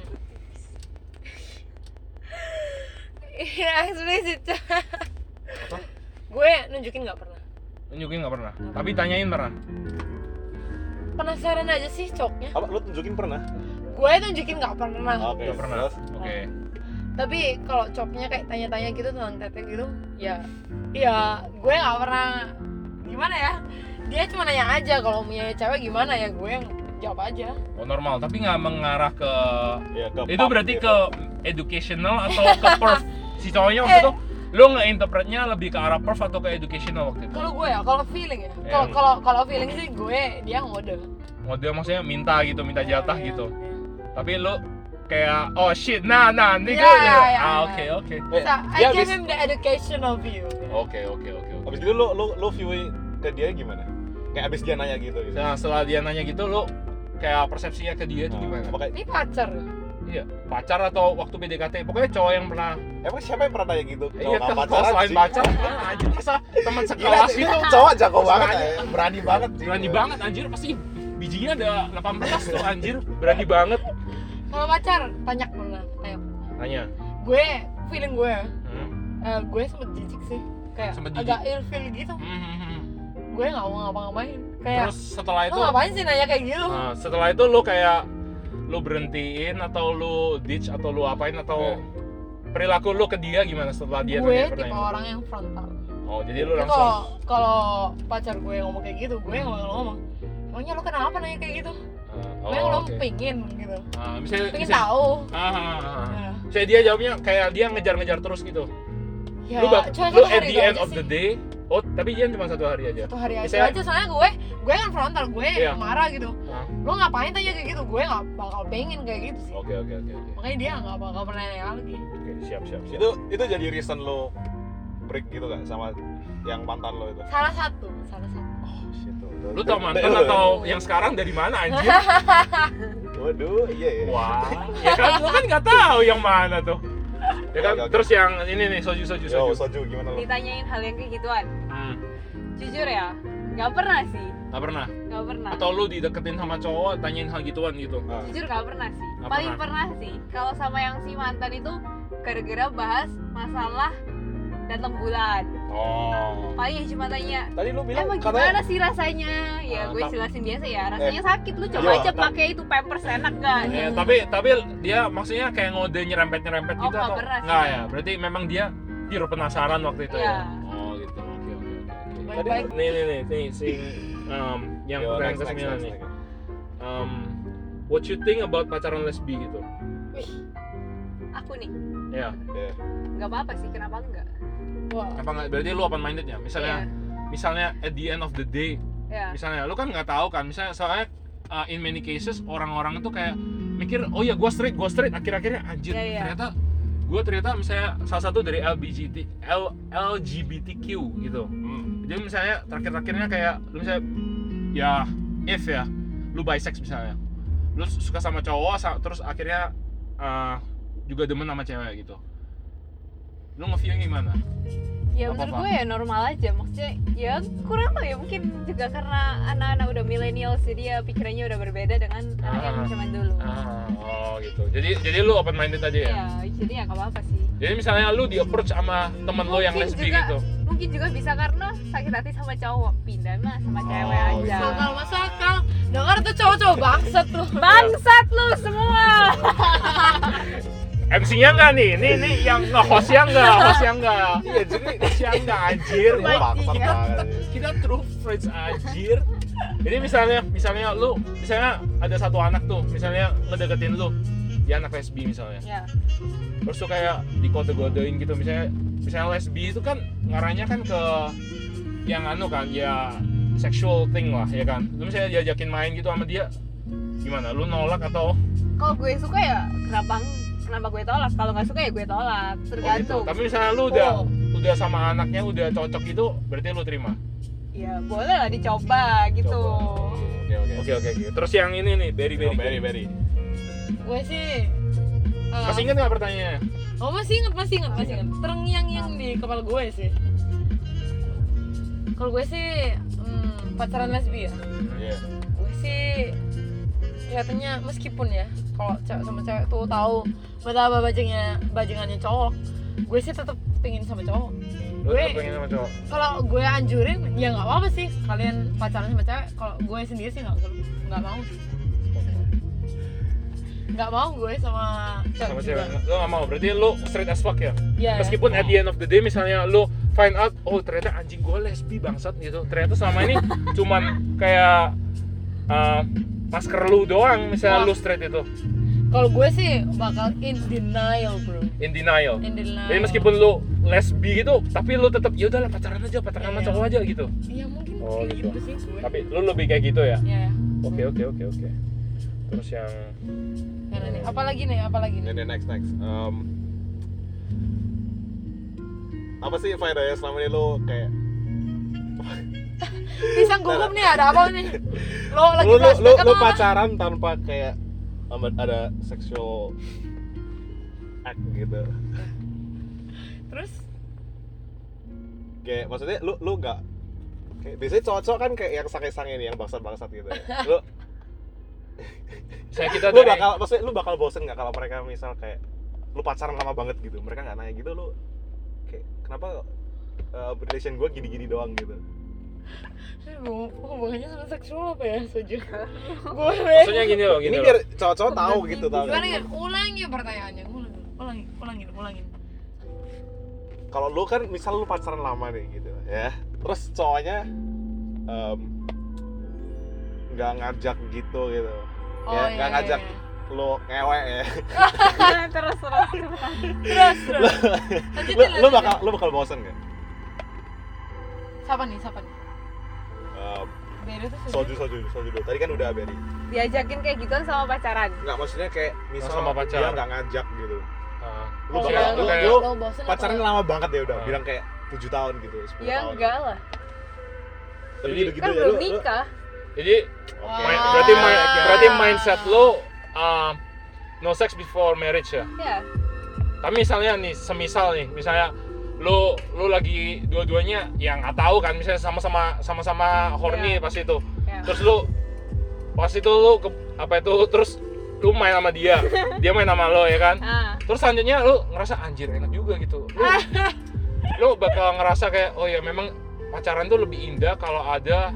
Iya, eksplisit.
gue nunjukin nggak pernah
Nunjukin nggak pernah, tapi tanyain pernah.
penasaran aja sih coknya
apa lu tunjukin pernah
gue tunjukin nggak pernah
oke
Nggak pernah.
terus
Oke.
tapi kalau coknya kayak tanya-tanya gitu tentang tete gitu ya ya gue nggak pernah gimana ya dia cuma nanya aja kalau punya cewek gimana ya gue yang jawab aja
Oh normal, tapi nggak mengarah ke.
ya ke
Itu
pub
berarti
gitu.
ke educational atau
[laughs]
ke perf? si cowoknya waktu
Eh.
itu lo ngeinterpretnya lebih ke arah perf atau ke educational waktu itu?
kalau gue ya kalau feeling ya
Iya.
kalau kalau kalau feeling sih gue dia ngode
Model Oh, maksudnya minta gitu, minta jatah
Iya,
gitu.
iya.
Tapi lo kayak oh shit, nah nah
Ya,
nih
Iya,
gue.
iya, iya,
Ah
iya.
oke oke.
eh,
So, I
dia
give
abis-
him the educational view.
Oke oke oke oke.
abis gitu lu lu lu view ke dia gimana kayak abis dia nanya gitu gitu
Nah setelah dia nanya gitu lo kayak persepsinya ke dia tuh
Nah,
gimana?
apa kayak
Ini pacar.
Iya, pacar atau waktu PDKT, pokoknya cowok yang pernah
emang siapa yang pernah nanya gitu
iya
nggak
kan [laughs] pacaran selain
sih.
pacar, ah, anjir masa teman
Gila,
sekelas gitu.
itu
itu
cowok jago banget
Berani.
ya. berani banget gitu. sih
berani banget anjir pasti bijinya ada 18 tuh anjir, berani banget.
Kalau pacar, tanya pernah. Tanya.
Tanya.
Gue feeling gue,
Hmm.
eh, gue sempet jijik sih. Kayak
Sempet jijik.
agak ilfeel gitu.
Hmm, hmm, hmm.
Gue nggak mau ngapa-ngapain. Kayak
Terus setelah
lo
itu
ngapain sih nanya kayak gitu?
nah, setelah itu lo kayak lo berhentiin atau lo ditch atau lo apain atau perilaku lo ke dia gimana setelah dia
gue
nanya
tipe
pertanyaan?
orang yang frontal.
Oh, jadi lo
Tapi
langsung
Kalau kalau pacar gue ngomong kayak gitu, gue nggak bakal ngomong. Emangnya lo kenapa nanya kayak gitu?
Ah,
Emangnya lo
oke.
pengen gitu,
Ah, misalnya,
pengen
misalnya-
tahu.
Ah, ah, ah, ah.
Nah,
Saya dia jawabnya kayak dia ngejar-ngejar terus gitu.
Ya,
lu bak-
cuma
lu
satu
at
hari
the
itu
end
aja
of
sih.
the day, oh tapi dia cuma satu hari aja.
satu hari aja
Misalnya-
aja soalnya gue gue kan frontal gue
Iya.
marah gitu
Hah?
lo ngapain tanya kayak gitu gue nggak bakal pengen kayak gitu sih
Oke oke oke oke.
makanya dia nggak bakal pernah nanya lagi
Oke, siap siap siap.
itu itu jadi reason lo break gitu gak sama yang mantan lo itu
salah satu salah satu
oh shit tuh.
Oh, Lu tau mantan atau yang sekarang dari mana
[laughs]
anjir?
waduh iya iya
Wah, ya kan lu kan nggak tahu yang mana tuh. Ya kan
Oke, oke.
terus yang ini nih soju soju
Yo,
soju.
soju gimana lo?
Ditanyain hal yang kayak gituan.
Hmm,
Jujur ya, nggak pernah sih.
nggak pernah.
Nggak pernah.
Atau lu dideketin sama cowok tanyain hal gituan gitu.
Nah,
Jujur nggak pernah sih.
Nggak
Paling pernah, sih kalau sama yang si mantan itu gara-gara bahas masalah datang bulan.
Oh.
Paling ya cuma tanya
tadi lu bilang
Emang
katanya
gimana sih rasanya? Ya
Ah, Eh,
gue
tak-
jelasin biasa ya, rasanya sakit lu
Iya,
coba aja
tak-
pakai itu pampers enak gak?
Ya, tapi tapi dia maksudnya kayak ngode nyerempet nyerempet
Oh,
gitu
nggak
atau
pernah sih.
nggak ya? Berarti memang dia tiru penasaran waktu itu
Iya.
ya. Oh gitu. Oke oke oke oke.
baik-baik
nih nih nih nih sing um, yang
Yo,
pertanyaan
next, next,
ke-9
next,
nih
next.
um, what you think about pacaran lesbi gitu
Aku nih,
ya
Iya.
nggak apa-apa sih, kenapa enggak?
wah
apa nggak berarti lu open minded ya misalnya misalnya at the end of the day
Iya. Iya.
misalnya lu kan nggak tahu kan misalnya soalnya uh, in many cases orang-orang itu kayak mikir oh ya gua straight gua straight akhir-akhirnya anjir
Iya, iya.
ternyata gua ternyata misalnya salah satu dari LGBT L- LGBTQ gitu
Hmm.
jadi misalnya terakhir-terakhirnya kayak lu misalnya ya if ya lu bisex misalnya lu suka sama cowok sa- terus akhirnya eh, juga demen sama cewek gitu lu nge-view gimana?
Ya
Nggak
menurut
apa-apa.
gue ya normal aja, maksudnya ya kurang tau ya mungkin juga karena anak-anak udah millennials jadi ya pikirannya udah berbeda dengan anak yang
Ah.
zaman dulu.
Ah, oh gitu. Jadi jadi lu open minded aja ya.
Iya, jadi ya nggak apa-apa sih.
Jadi misalnya lu di approach sama temen lu yang
Mungkin
lesbi
juga
gitu.
Mungkin juga bisa karena sakit hati sama cowok, pindah mah sama cewek
Oh, iya.
aja.
masuk akal masuk akal dengar tuh cowok-cowok bangsat tuh
Bangsat lu
[laughs]
semua.
MC-nya enggak nih? Nih nih yang nge hostnya enggak, hostnya enggak.
Iya, jadi
Hostnya enggak anjir.
Wah, bangsat
Iya.
banget.
[laughs]
kita true friends anjir jadi misalnya misalnya lu misalnya ada satu anak tuh misalnya ngedeketin lu dia anak lesbi misalnya
Ya.
terus tuh kayak dikode-kodein gitu misalnya misalnya lesbi itu kan ngarahnya kan ke yang anu kan ya sexual thing lah ya kan lu misalnya diajakin main gitu sama dia gimana lu nolak atau
kalau gue suka ya kenapa kenapa gue tolak kalau nggak suka ya gue tolak
oh gitu
tergantung
tapi misalnya lu udah
Oh.
udah sama anaknya udah cocok gitu berarti lu terima
ya boleh lah dicoba gitu
Coba.
Oke, oke.
oke oke oke terus yang ini nih berry
Yo,
berry
Berry, Berry.
gue sih eh,
masih ingat nggak pertanyaannya
oh masih inget masih inget masih inget terngiang yang di kepala gue sih Kalau gue sih hmm, pacaran lesbi ya.
Iya.
Gue sih kelihatannya meskipun ya kalau cewek sama cewek tuh tahu betapa bajingnya bajingannya cowok, gue sih tetap pingin sama cowok.
Lu
Gue-
lu pengen sama cowok?
Kalau gue anjurin ya nggak apa-apa sih kalian pacaran sama cewek. Kalau gue sendiri sih nggak nggak mau sih. Nggak mau gue sama cewek.
sama
juga.
cewek lu gak mau berarti lu straight as fuck ya
Iya, ya.
meskipun at the end of the day misalnya lu find out oh ternyata anjing gue lesbi bangsat gitu ternyata selama
[laughs]
ini cuman kayak eh, masker lu doang misalnya
Wah.
lu straight itu
Kalau gue sih bakal in denial, bro.
in denial
In denial.
jadi meskipun lu lesbi gitu tapi lu tetap ya udahlah pacaran aja pacaran sama
Iya.
cowok aja gitu
ya mungkin
Oh,
kayak
gitu.
gitu sih gue.
tapi lu lebih kayak gitu ya
Ya, ya.
oke oke oke oke terus yang
Karena nih, apalagi nih, apalagi
Ini
nih.
nih, next Um, next. Em, apa sih faedahnya selama ini lu kayak
Pisang gugup nih, ada apa nih? Lo lagi
lu lu lu,
flashback
lu
apa?
pacaran tanpa kayak em, ada sexual act gitu.
Terus
Kayak maksudnya lu lu nggak kayak biasanya cowok-cowok kan kayak yang sange-sange nih yang bangsat-bangsat gitu
[laughs]
ya. Lu
saya kita
lu
dari-
bakal maksudnya lu bakal bosen nggak kalau mereka misal kayak lu pacaran lama banget gitu mereka nggak nanya gitu lu kayak kenapa uh, relation gue gini-gini doang gitu
aduh, hubungannya sama seksual apa ya, Soju? gue
maksudnya gini loh
ini
gini loh.
biar cowok-cowok tahu gitu tahu
Gimana ya? Ulangi pertanyaannya, ulangi, ulangi, ulangin, ulangin.
kalau lu kan misal lu pacaran lama nih gitu ya terus cowoknya em, nggak ngajak gitu gitu ya nggak ngajak
iya.
lu ngewe ya
Iya, terus terus terus.
Terus, terus.
Gitu
Lanjutin,
lu, lu
lanjutin.
bakal lu bakal bosen nggak
Siapa nih, siapa nih?
Em,
Beda tuh
soju soju soju dulu tadi kan udah beri
Diajakin kayak gituan sama pacaran.
nggak maksudnya kayak misal
Sama
dia
pacar.
nggak ngajak gitu
Ah.
lu
Kalau
bakal
yang
lu,
lu-
kayak-
lu
bosen apa
pacaran
lo-
lama banget ya udah
Ah.
bilang kayak 7 tahun gitu 10
Ya
tahun
enggak lah.
tapi
Jadi-
gitu gitu
Kan
ya
belum
lu- lu-
nikah.
jadi
Oke.
Iya. main- berarti
Wah.
main- berarti mindset lo um, no sex before marriage ya
Ya.
tapi misalnya nih semisal nih misalnya lo lo lagi dua-duanya yang nggak tahu kan misalnya sama-sama sama-sama horny
Iya.
pas itu
ya.
terus lo pas itu lo ke, apa itu terus lo main sama
[laughs]
dia dia main sama lo ya kan
Ah.
terus selanjutnya lo ngerasa anjir enak juga gitu
[laughs]
lo, lo bakal ngerasa kayak oh ya memang pacaran tuh lebih indah kalau ada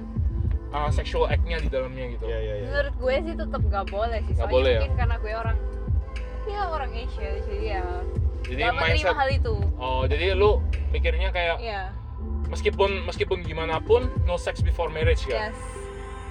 uh, sexual act-nya di dalamnya gitu
Iya, iya, iya.
menurut gue sih tetap gak boleh sih
Nggak
soalnya
boleh ya?
mungkin karena gue orang ya orang Asia jadi ya
jadi
gak menerima
mindset Iya.
hal itu
oh jadi lu mikirnya kayak
ya
meskipun meskipun gimana pun no sex before marriage ya
yes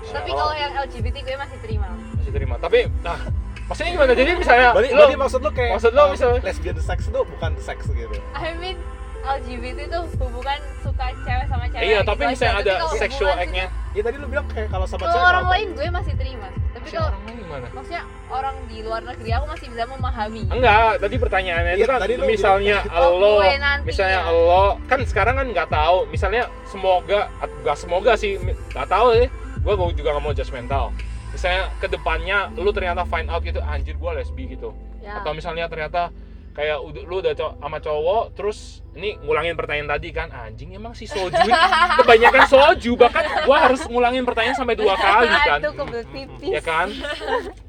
Nah,
Oh.
tapi
kalau-
kalau yang LGBT gue masih terima
masih terima tapi nah maksudnya gimana jadi misalnya
berarti,
lu
berarti maksud lu kayak
maksud lu
um,
misalnya-
lesbian sex itu bukan seks gitu
I mean LGBT itu hubungan suka cewek sama cewek
iya
gitu
tapi
aja.
misalnya ada
kalau
sexual
hubungan
act-nya
ya tadi lu bilang kayak kalau
sih,
sama
kalau
cewek
orang
apa?
lain gue masih terima tapi
Maksudnya
kalau
orang lain gimana
maksudnya orang di luar negeri aku masih bisa memahami
enggak tadi pertanyaannya itu
Iya,
kan
tadi lu
misalnya
Oh,
Hmm, lo
gue nanti
misalnya
ya.
lo kan sekarang kan nggak tahu misalnya semoga at- nggak semoga sih mi- nggak tahu ya gue juga nggak mau judgmental misalnya kedepannya lu ternyata find out gitu anjir gue lesbi gitu
ya.
atau misalnya ternyata kayak udah- lu udah cow- sama cowok terus ini ngulangin pertanyaan tadi kan anjing emang si soju ini kebanyakan soju bahkan gua harus ngulangin pertanyaan sampai dua kali kan
Aduh, kebelet pipis
ya kan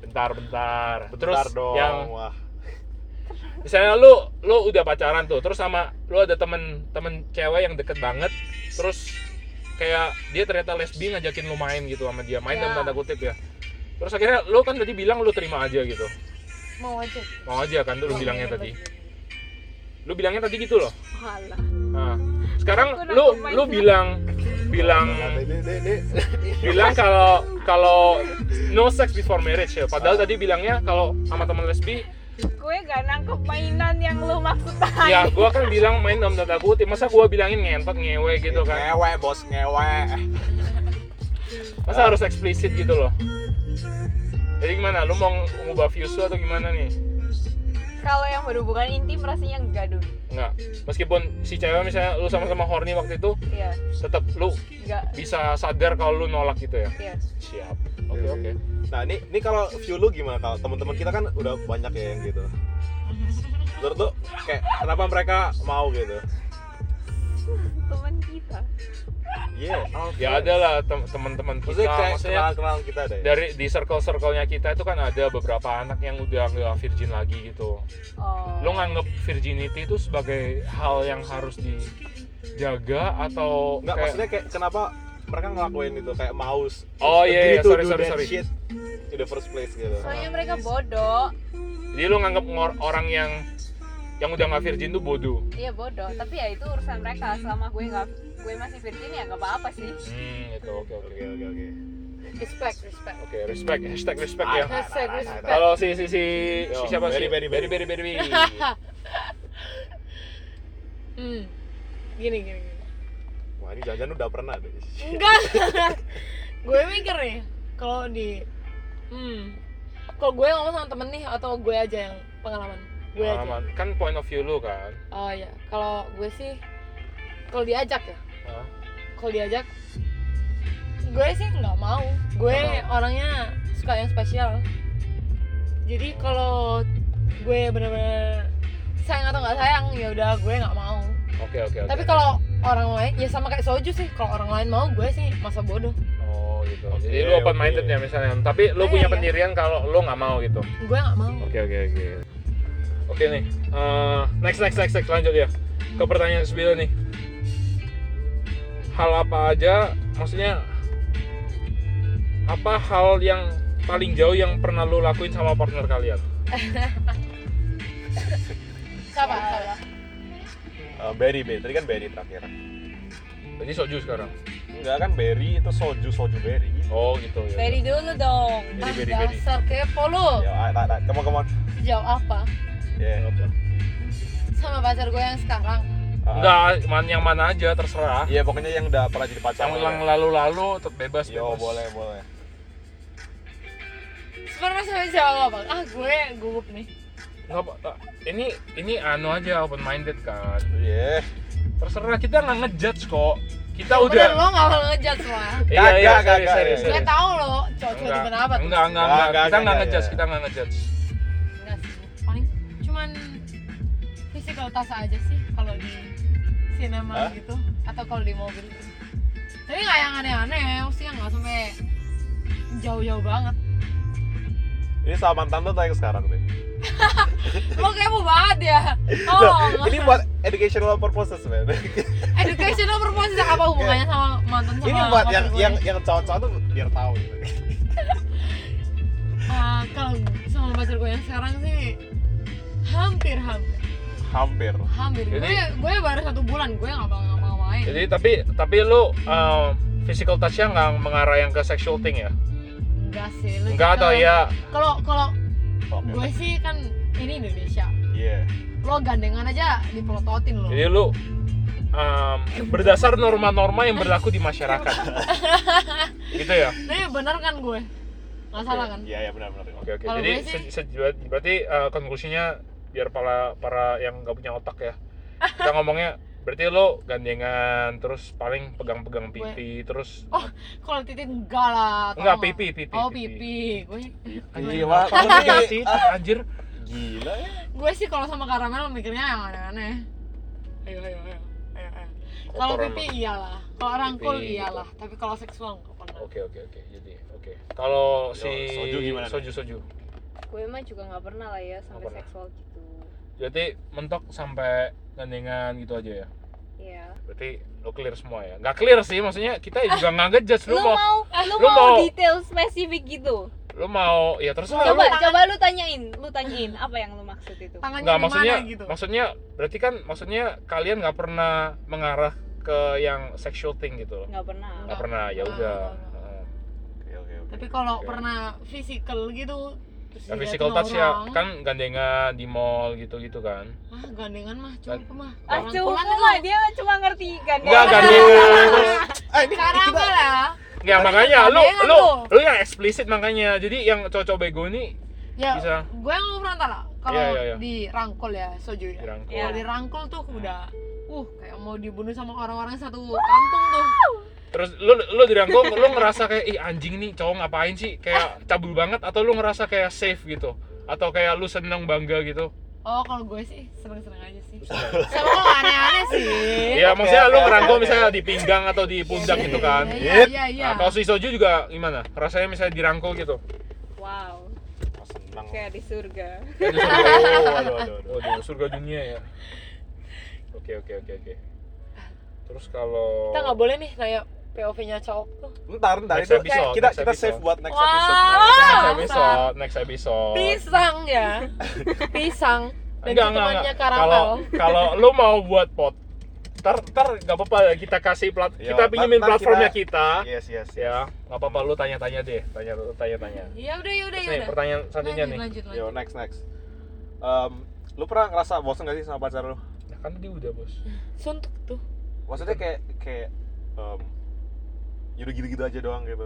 bentar bentar terus
Bentar dong
yang
wah
misalnya lu lu udah pacaran tuh terus sama lu ada temen temen cewek yang deket banget terus kayak dia ternyata lesbi ngajakin lu main gitu sama dia main
Ya.
dalam tanda kutip ya terus akhirnya lu kan tadi bilang lu terima aja gitu
Mau aja.
mau aja kan tuh lu
Mau
bilangnya
aja,
tadi lu bilangnya tadi gitu loh
Alah.
Nah, sekarang
Aku
lu
nakut
lu
mindset.
bilang bilang
ini ini ini
bilang kalau kalau no sex before marriage ya. Padahal tadi bilangnya kalau sama teman lesbi,
gue gak nangkep mainan yang lu maksud [laughs]
ya gua kan bilang main dalam tanda kutip. Masa gua bilangin ngentot ngewe [laughs] gitu kan.
ngewe bos ngewe
Masa harus eksplisit gitu loh. Jadi gimana? Lu mau ng- ngubah views lu atau gimana nih?
kalau yang berhubungan intim rasanya enggak dulu
Enggak. Meskipun si cewek misalnya lu sama-sama horny waktu itu,
iya
tetap lu
enggak
bisa sadar kalau lu nolak gitu ya.
iya
Siap. Oke, oke.
nah ini ini kalau view lu gimana kalau teman-teman kita kan udah banyak ya yang gitu menurut lu kayak kenapa mereka mau gitu
teman kita
Iya. all
ya
friends.
ada lah tem- teman-teman kita
Maksudnya kayak
maksudnya
kenal-kenal kita ada ya?
dari di circle-circle-nya kita itu kan ada beberapa anak yang udah nggak virgin lagi gitu
Oh.
lo nganggep virginity itu sebagai hal yang harus dijaga atau
Enggak,
kayak-
maksudnya kayak kenapa mereka ngelakuin itu kayak maus.
Oh, iya, iya,
agree to
sorry,
do
sorry,
that
sorry.
Shit in the first place gitu.
Soalnya mereka bodoh.
jadi lo nganggep ngor- orang yang yang udah nggak virgin tuh bodoh
Iya bodoh. Tapi ya itu urusan mereka. Selama gue nggak gue masih virgin ya nggak apa-apa sih.
hmm gitu oke oke
Oke, oke, Ah, nah, oke.
respect respect
oke respect hashtag respect ya
Hashtag respect.
kalau si si si, si
Yo,
siapa
Barry,
sih
Barry, Barry.
Barry, Barry, Barry.
hmm. gini gini, gini.
Wah, ini jangan-jangan udah pernah deh.
enggak [laughs] gue mikir nih kalau di hmm kalau gue ngomong sama temen nih atau gue aja yang pengalaman gue aja
Pengalaman. kan point of view lo kan
oh ya kalau gue sih kalau diajak ya
Hah?
kalau diajak gue sih nggak mau gue
Nggak
orangnya suka yang spesial jadi kalau gue bener-bener sayang atau nggak sayang ya udah gue nggak mau
oke oke oke
tapi kalau orang lain ya sama kayak soju sih kalau orang lain mau gue sih masa bodoh
oh gitu
Oke,
jadi lo open minded
oke.
ya misalnya tapi lo
Iya,
punya
iya.
pendirian kalau lo nggak mau gitu
gue nggak mau
Oke oke oke. Oke nih. eh, next next next next lanjut ya. Ke pertanyaan sebelumnya nih. Hal apa aja maksudnya apa hal yang paling jauh yang pernah lo lakuin sama partner kalian?
siapa siapa
Eh, Berry, Berry. Tadi kan Berry terakhir.
Ini soju sekarang.
Enggak kan Berry itu soju soju Berry.
Oh gitu ya.
Beri dulu dong.
Beri,
ah
beri, beri.
dasar kepo lu
Ya, ah, nah, nah, come on, come on. Ya.
sejauh apa
Yeah.
sama pacar gue yang sekarang
Ah,
Enggak, man- yang mana aja terserah.
Iya, pokoknya yang udah pernah jadi pacar.
Yang
lah
yang
ya.
lalu-lalu tetap bebas.
Yo,
bebas.
boleh, boleh.
sebenarnya sampai jauh apa ah gue gugup nih
Nggak apa- eh, ini ini anu aja open minded kan.
Iya.
Terserah kita nggak ngejudge kok. Kita udah
Bener, lo gak bakal ngejat semua
Iya,
Kagak,
iya, sorry,
kagak,
sorry,
iya, iya.
sorry.
Gue tau lo cowok-cowok
Enggak,
itu kenapa tuh
enggak, enggak,
Enggak,
enggak.
enggak,
Kita enggak
enggak,
ngejudge,
iya.
kita enggak ngejudge.
Enggak sih, paling cuman physical touch aja sih kalau di
Hah?
cinema gitu Atau kalau di mobil gitu Tapi gak yang aneh-aneh, sih gak sampai jauh-jauh banget
Ini sama mantan lo tanya sekarang deh.
Lo kepo banget ya, tolong
Loh, ini buat educational purposes, man.
Educational purpose apa hubungannya sama mantan sama
[laughs] ini buat
pacar
yang
gue?
yang yang cowok-cowok tuh biar tahu gitu.
Ah, Kalau sama pacar gue yang sekarang sih hampir-hampir
Hampir.
hampir
Jadi-
gue gue baru satu bulan gue nggak bakal ngapa ngapain
Jadi tapi tapi lu um, physical touch-nya enggak mengarah yang ke sexual thing ya?
enggak sih lu
Enggak atau
kalau-
iya?
ya?
kalau kalau
Oke.
gue sih kan ini Indonesia
Iya.
lo gandengan aja dipelototin lo
Jadi lu um, berdasar norma-norma yang berlaku di
[laughs]
masyarakat. gitu ya?
nih bener kan gue nggak salah kan
Iya, iya benar-benar. Oke.
Oke, oke.
Kalau
Jadi
gue sih-
se- se- berarti uh, konklusinya biar para para yang nggak punya otak ya. Kita ngomongnya berarti lo gandengan terus paling pegang-pegang pipi terus
kalau titik enggak lah
Enggak,
tolong.
pipi, pipi,
oh
pipi.
pipi gue
anjir
Wah,
apa
kalau
sih?
sih-
gitu. [laughs] anjir
Gila ya.
gue sih kalau sama karamel mikirnya yang aneh-aneh ayo ayo ayo ayo, ayo. kalau
Kotoran
pipi iyalah kalau rangkul
Pipi.
iyalah tapi kalau seksual nggak pernah
Oke oke oke jadi oke. Kalau si
soju gimana
Soju soju.
Gue mah juga nggak pernah lah ya sampai
pernah.
seksual gitu.
Berarti mentok sampai gandengan gitu aja ya.
Iya.
Berarti lo clear semua ya. Nggak clear sih maksudnya kita juga nggak ngejudge
Lu
lo mau
mau lu
lu
mau
mau-
detail spesifik gitu.
lo mau ya terus lo
Coba
tangan-
coba lu tanyain, lu tanyain apa yang lu maksud itu.
tangannya
nggak
di
maksudnya
mana gitu
maksudnya berarti kan maksudnya kalian nggak pernah mengarah ke yang sexual thing gitu loh.
Nggak pernah.
Nggak pernah ya
Nggak, Ah.
udah.
nggak,
Heeh.
Oke, oke, oke.
tapi kalau
Oke.
pernah physical gitu
Yang
terus diliatin
physical touch ya
orang,
kan gandengan di mall gitu-gitu kan.
ah gandengan mah cukup mah
Ah,
Orang
cuma
pulang
mah
tuh.
dia cuma ngerti kan.
Enggak gandengan.
Eh, ini
karena
kita
lah
Ya makanya
ada
lu lu
yang kan tuh.
lu yang eksplisit makanya. Jadi yang cowok bego ini
ya
Bisa.
gue yang ngomong lah kalau
Iya, iya, Hmm. iya.
dirangkul ya soju ya
dirangkul.
Iya.
kalau dirangkul tuh udah uh kayak mau dibunuh sama orang-orang satu kampung tuh
Terus lu lu dirangkul, lu ngerasa kayak ih anjing nih cowok ngapain sih? Kayak cabul banget atau lu ngerasa kayak safe gitu? Atau kayak lu seneng bangga gitu?
oh kalau gue sih seneng-seneng aja
[laughs]
sih sama kalau aneh-aneh sih
Iya,
Oke,
maksudnya
oke,
lu
oke,
ngerangkul
oke.
misalnya di pinggang atau di pundak gitu kan.
iya iya iya
Nah, kalau si Soju juga gimana? Rasanya misalnya dirangkul gitu.
Wow,
Oh, senang.
kayak di surga.
[laughs]
Aduh, surga.
Oh, aduh, aduh, aduh.
Waduh, surga dunia ya. Oke, oke, oke, oke. Terus kalau
kita nggak boleh nih nanya POV-nya cowok tuh
Ntar, ntar
Next
itu
episode,
kita
next
kita
episode.
save buat next
Wah.
episode.
next
Ah,
episode, next episode.
pisang
[laughs]
ya pisang dan
Enggak, enggak,
temannya
enggak. Kalau
karamel
kalau lu mau buat pot ter ter nggak apa-apa ya, kita kasih plat
Yo,
kita pinjemin
Iya, ntar- ntar
platformnya
kita-
kita,
Yes, yes, yes.
ya nggak apa-apa lu tanya-tanya deh tanya lu tanya-tanya
ya udah ya udah
Terus
ya
nih
udah
pertanyaan selanjutnya nih
lanjut lanjut
Yo, next, next. Um, lu pernah ngerasa bosen gak sih sama pacar lu?
Nah, kan tadi udah bos
suntuk tuh
Maksudnya kayak kayak um, ya udah gitu-gitu aja doang gitu.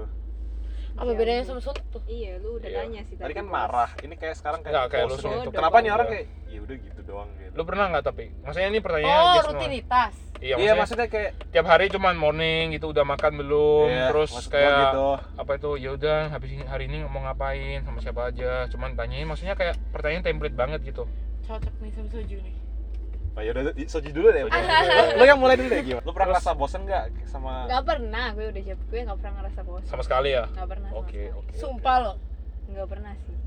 apa
Ya
gitu.
bedanya
ampun.
sama suntuk tuh
Iya, lu udah
Iya.
nanya sih
Tadi kan
Bos.
marah, ini kayak sekarang kayak,
Nggak, kayak lu
bosen
suruh
gitu.
tutup.
Kenapa nih orang
Udah.
kayak ya udah gitu doang gitu.
lu pernah nggak tapi maksudnya ini pertanyaannya
oh
yes, no.
rutinitas
iya
iya,
maksudnya
maksudnya kayak
tiap hari cuman morning gitu udah makan belum
Iya,
terus
maksud gua
kayak
gitu.
apa itu ya udah habis ini- hari ini mau ngapain sama siapa aja cuman tanyain maksudnya kayak pertanyaan template banget gitu
cocok nih sama soju nih
Nah, yaudah, soji dulu deh. Lo,
Soji dulu.
lo yang mulai dulu deh gimana? Lo pernah
Terus-
ngerasa bosen gak sama
Gak pernah, gue udah jawab gue gak pernah ngerasa bosan.
sama sekali ya
Gak pernah. sama
oke
sekali.
oke
sumpah lo
Gak pernah sih.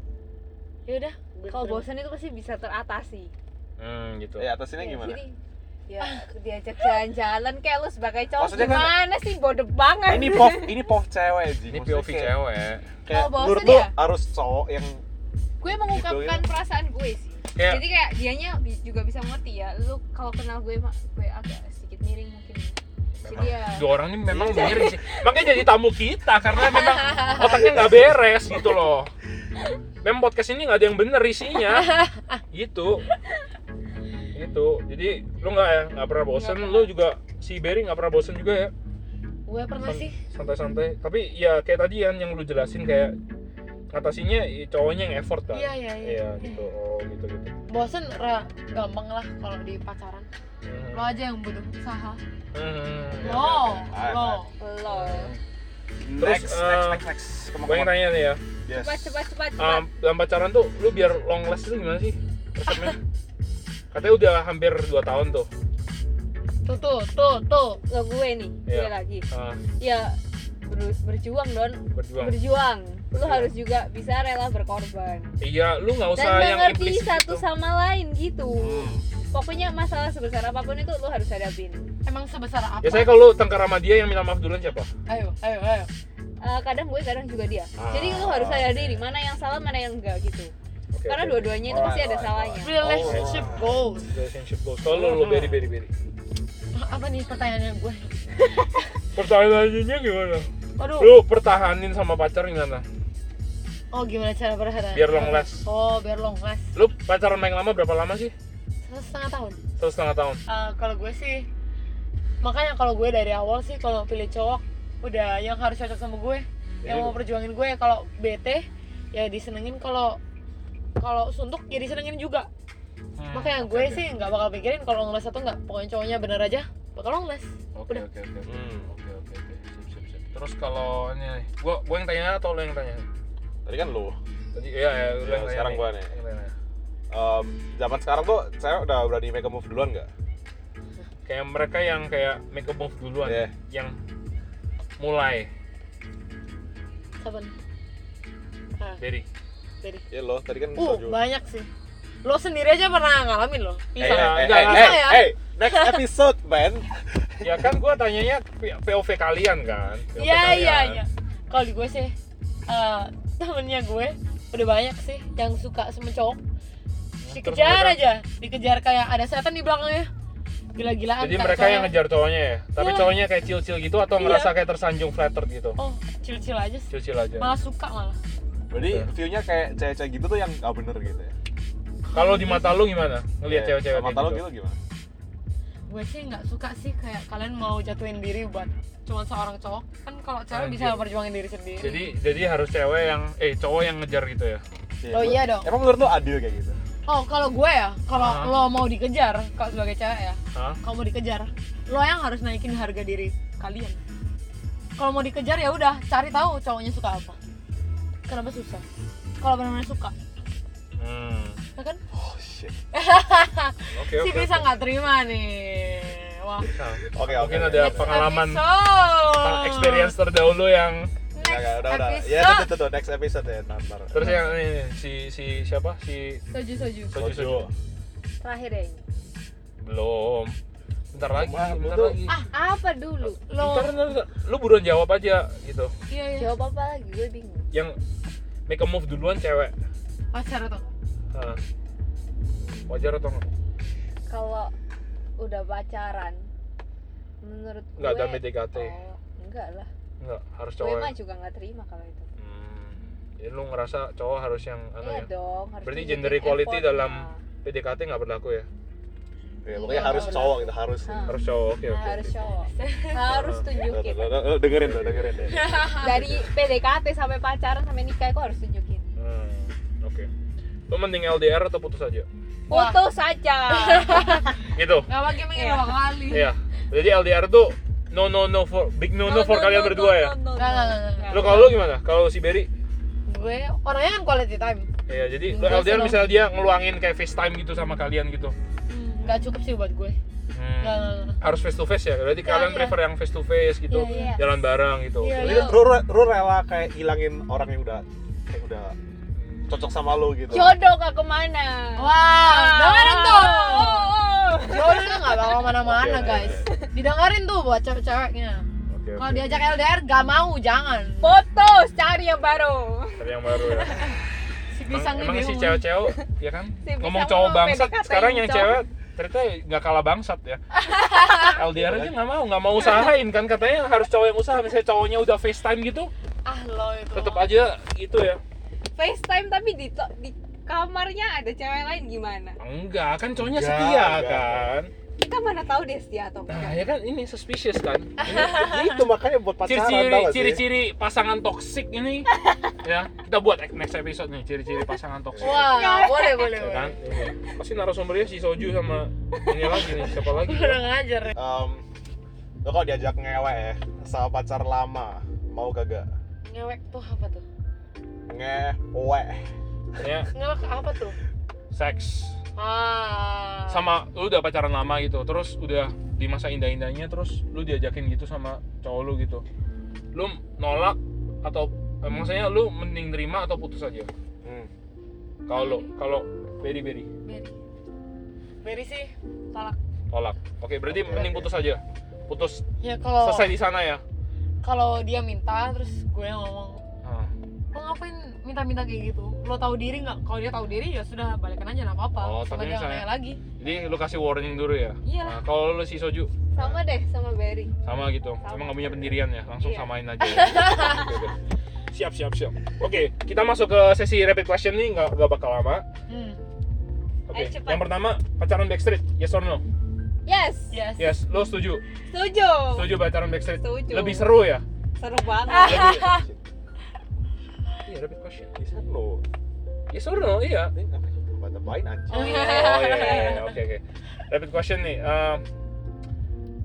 ya udah
Kalau bosan itu pasti bisa teratasi.
hmm gitu
ya atasnya
Ya,
gimana?
jadi, ya diajak jalan-jalan kayak lu sebagai cowok
Maksudnya kan-
gimana sih bodoh banget.
Nah,
[laughs]
Ini pov, ini pov cewek sih.
ini
Maksudnya
POV
kayak-
cewek
Oh,
Kayak
Kalau bosen
menurut lo
ya?
harus cowok yang
gue mengungkapkan perasaan gue sih.
Gitu, ya. kayak
Jadi kayak dianya bi- juga bisa ngerti ya. Lu kalau kenal gue mah gue agak sedikit miring mungkin. Jadi
Memang.
ya
dua orang ini memang miring sih makanya jadi tamu kita karena
[laughs]
memang otaknya nggak beres gitu loh memang podcast ini nggak ada yang bener isinya
[laughs]
gitu gitu jadi lu nggak ya nggak pernah bosen
Nggak
lu juga si Berry nggak pernah bosen juga ya
gue pernah
San-
sih
santai-santai tapi ya kayak tadi kan yang lu jelasin kayak ngatasinya i- cowoknya yang effort kan
iya iya iya
Iya, gitu oh gitu gitu
bosen ra, gampang lah kalau di pacaran
Hmm.
lo aja yang butuh usaha
Hmm.
Oke,
lo
oke. Ayo,
Ah,
lo
ayo.
lo
Terus,
next,
eh,
next, next, next. Come on,
gue yang
come on.
tanya nih ya
Yes.
cepat cepat cepat cepat.
um, dalam pacaran tuh lu biar long last itu gimana sih resepnya katanya udah hampir 2 tahun tuh
tuh tuh tuh tuh
Lo gue nih,
Iya.
gue lagi.
Ah,
Ya ber- berjuang Don,
berjuang Iya.
berjuang. Lu
Berjuang.
harus juga bisa rela berkorban.
iya lu nggak
Dan
usah yang
mengerti
implisit
satu
gitu.
sama lain gitu.
Hmm.
Pokoknya masalah sebesar apapun itu lu harus hadapin.
emang sebesar apa
ya saya kalau lu tengkar sama dia yang minta maaf duluan siapa
ayo ayo ayo
Eh, kadang gue kadang juga dia.
Ah,
Jadi lu harus sadar
oke.
diri mana yang salah mana yang enggak gitu.
Oke, oke.
Karena
Oh,
dua-duanya itu pasti
Alright,
ada
alright,
salahnya.
relationship goals
relationship goals kalau lu, lu beri beri beri
apa nih pertanyaannya gue
pertanyaannya gimana
waduh
lu pertahanin sama pacar gimana
oh gimana cara berharap
Biar long last.
oh biar long last
lu pacaran main lama berapa lama sih
satu setengah tahun
satu setengah tahun
Eh, kalau gue sih makanya kalau gue dari awal sih kalau pilih cowok udah yang harus cocok sama gue yang
Jadi-
mau perjuangin gue kalau bete ya disenengin kalau kalau suntuk ya disenengin juga
Hmm,
makanya
oke,
gue
oke.
sih nggak bakal pikirin kalau ngeles atau nggak pokoknya cowoknya bener aja bakal ngeles
oke
udah.
oke oke oke
Hmm.
oke oke oke Sip, sip, sip. terus kalau ini nih gua gua yang tanya atau lu yang tanya
Tadi kan lo.
tadi iya ya, lu
Ya,
yang tanya
sekarang
nih.
gua nih.
Yang tanya.
Um, zaman sekarang tuh cewek udah berani make a move duluan gak?
kayak mereka yang kayak make a move duluan
Iya.
yang mulai
saban nah,
dari
jadi
Iya lo, tadi kan
uh
soju.
banyak sih lo sendiri aja pernah ngalamin lo
Eh, eh,
bisa Iya, ya?
Enggak,
eh,
enggak,
eh,
enggak.
eh, eh,
[laughs]
next episode, man.
ya kan gua tanyanya P- POV kalian kan POV
Iya
kalian.
iya iya. Kalau di gue sih eh, temennya gue udah banyak sih yang suka sama cowok. Dikejar
mereka-
aja, dikejar kayak ada setan di belakangnya. Gila-gilaan.
jadi
kayak
mereka yang
cowoknya.
ngejar cowoknya ya tapi
Iya.
cowoknya kayak cil-cil gitu atau
Iya.
ngerasa kayak tersanjung flattered gitu
Oh, cil-cil aja sih.
cil-cil aja
Malah suka malah.
Jadi view-nya kayak cewek-cewek gitu tuh yang gak bener gitu ya.
kalau di mata lu gimana ngelihat
Iya.
cewek-cewek
Sama
kayak
mata lo gitu gimana?
Gue sih nggak suka sih kayak kalian mau jatuhin diri buat cuman seorang cowok. Kan kalau cewek
Anjir.
bisa perjuangin diri sendiri.
jadi jadi harus cewek yang eh cowok yang ngejar gitu ya
Iya,
Oh,
lu-
iya dong.
Emang menurut lo adil kayak gitu?
Oh, kalau gue ya, kalau
Ah.
lo mau dikejar, kalau sebagai cewek ya,
Hah?
kalau mau dikejar lo yang harus naikin harga diri kalian kalau mau dikejar ya udah cari tahu cowoknya suka apa kenapa susah kalau benar-benar suka
Hmm.
ya kan
Oh shit. Oke
si
oke.
bisa nggak terima nih wah
Oke oke.
Mungkin ada pengalaman,
episode.
experience terdahulu yang
Ya, ya,
next
udah udah. Ya
episode
itu tuh, tuh next episode ya ntar.
terus yang ini si si siapa si
soju soju
Soju,
Soju.
Soju.
Terakhir ya ini.
belum. Bentar lagi,
Wah, lu
bentar
tuh-
lagi.
Ah,
Apa dulu?
lo
Bentar, bentar, bentar. Lu buruan jawab aja gitu.
iya iya
Jawab apa lagi? Gue bingung.
Yang make a move duluan cewek.
pacar tuh
Hah. Wajar atau enggak?
Kalau udah pacaran, menurut gue
Enggak ada PDKT.
Oh, enggak lah.
Enggak, harus
Gue
cowok. ya.
mah juga nggak terima kalau itu.
Hmm. Jadi lu ngerasa cowok harus yang anu
Iya
ya.
dong. Harus
Berarti
tunjukin
gender equality
effort,
dalam
nah.
PDKT nggak berlaku ya?
Ya, pokoknya harus
Iya,
cowok gitu harus.
Ah.
Hah.
Harus cowok. Oke, oke.
Ah, harus [laughs] cowok. harus
Tuh, tuh,
tunjukin.
tuh, tuh, dengerin tuh, dengerin deh.
Dari PDKT sampai pacaran sampai nikah kok harus tunjukin.
Hmm, Oke. Lu mending LDR atau putus aja?
Wah.
Foto saja.
Gitu.
nggak pakai pengen
Iya.
dua kali
Iya. Jadi LDR tuh no no no for big no no, for kalian berdua ya.
Nggak, nggak, nggak, nggak.
Lu kalau lu gimana? Kalau si Berry?
gue orangnya kan quality time
Iya, jadi lu
Gua
LDR
seneng.
misalnya dia ngeluangin kayak FaceTime gitu sama kalian gitu.
nggak cukup sih buat gue
Hmm.
nggak nggak nggak
Harus face to face ya. Berarti kalian
iya.
prefer yang face to face gitu.
Iya, iya.
Jalan bareng gitu.
Iya,
Jadi
iya.
lu, lu rela kayak hilangin orang yang udah kayak udah cocok sama lu gitu.
Jodoh gak kemana? Ah.
wah dengerin
[laughs]
tuh
Oh.
jodoh tuh nggak bakal
Oke,
mana-mana
oke,
guys didengerin tuh buat cewek-ceweknya
Oke.
kalau
oke.
diajak LDR gak mau jangan
Foto, cari yang baru.
Cari yang baru ya.
si
Emang,
pisang
emang
ini
sih
bingung.
cewek-cewek ya kan
Si pisang
ngomong cowok
mah
bangsat
PDKT
sekarang yang
cowok.
cewek ternyata nggak kalah bangsat ya LDR aja nggak mau nggak mau usahain kan katanya harus cowok yang usaha misalnya cowoknya udah FaceTime gitu
ah lo itu
tetap aja gitu ya
FaceTime tapi di to- di kamarnya ada cewek lain gimana?
enggak kan cowoknya
Enggak,
setia
enggak.
kan
Kita mana tahu dia setia atau
nah
enggak.
ya kan ini suspicious kan
Ya itu makanya buat pacaran
ciri-ciri
tau gak sih?
ciri-ciri pasangan toksik ini ya kita buat next episode nih ciri-ciri pasangan toksik
wah boleh boleh
ya
boleh
kan Ini. pasti narasumbernya si Soju sama ini lagi nih siapa lagi
[laughs] kurang ajar ya.
Em, lu kalau diajak ngewe ya sama pacar lama mau kagak?
ngewek tuh apa tuh
Ngewe.
ya
ngewek apa tuh
seks
ah
sama lu udah pacaran lama gitu terus udah di masa indah-indahnya terus lu diajakin gitu sama cowok lu gitu lu nolak atau eh, maksudnya lu mending terima atau putus aja
Hmm.
kalau lu kalau beri beri
Beri Beri sih tolak
tolak oke berarti
Oke,
mending
oke.
putus aja putus
ya
Oh.
kalau
selesai di sana ya
kalau dia minta terus gue ngomong
Nah,
lo ngapain minta-minta kayak gitu lo tahu diri nggak kalau dia tahu diri ya sudah balikan aja nggak apa-apa
Oh,
Suka
tapi
jangan
misalnya-
nanya lagi
jadi lu kasih warning dulu ya
Iyalah.
Nah, kalau lu si soju
Sama deh sama Barry.
sama gitu
Sama.
emang gak punya pendirian ya langsung
Iya.
samain
[laughs]
aja ya. Oke, oke. siap siap siap oke kita masuk ke sesi rapid question nih nggak nggak bakal lama
hmm.
Oke,
Ayo, cepat.
yang pertama pacaran backstreet, yes or no?
Yes.
yes,
Yes, lo setuju?
Setuju.
Setuju pacaran backstreet?
Setuju.
Lebih seru ya?
Seru banget.
Iya, rapid question.
Bisa lu.
Yes or no? Iya.
Ini ngapain lu? Bata bain aja.
Oh, iya.
Oh iya, iya, iya. oke oke. Rapid question nih. em,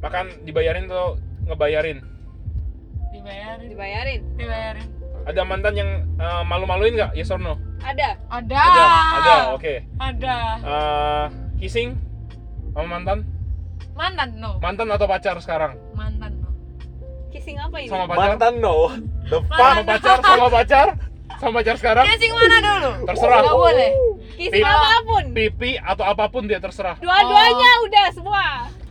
makan dibayarin atau ngebayarin?
dibayarin
Dibayarin.
dibayarin
Ada mantan yang eh, malu-maluin nggak? Yes or no?
Ada.
ada
Ada,
Ah.
ada. Oke.
ada
Eh, kissing sama mantan?
mantan no
Mantan atau pacar sekarang?
mantan no
Kissing apa ini?
Sama pacar?
Mantan no. The
Sama
fuck.
pacar? Sama pacar? Sama pacar sekarang?
kissing mana dulu
Terserah.
nggak boleh
Kissing
Pipi.
apapun.
pipi atau apapun dia terserah
Dua-duanya udah semua.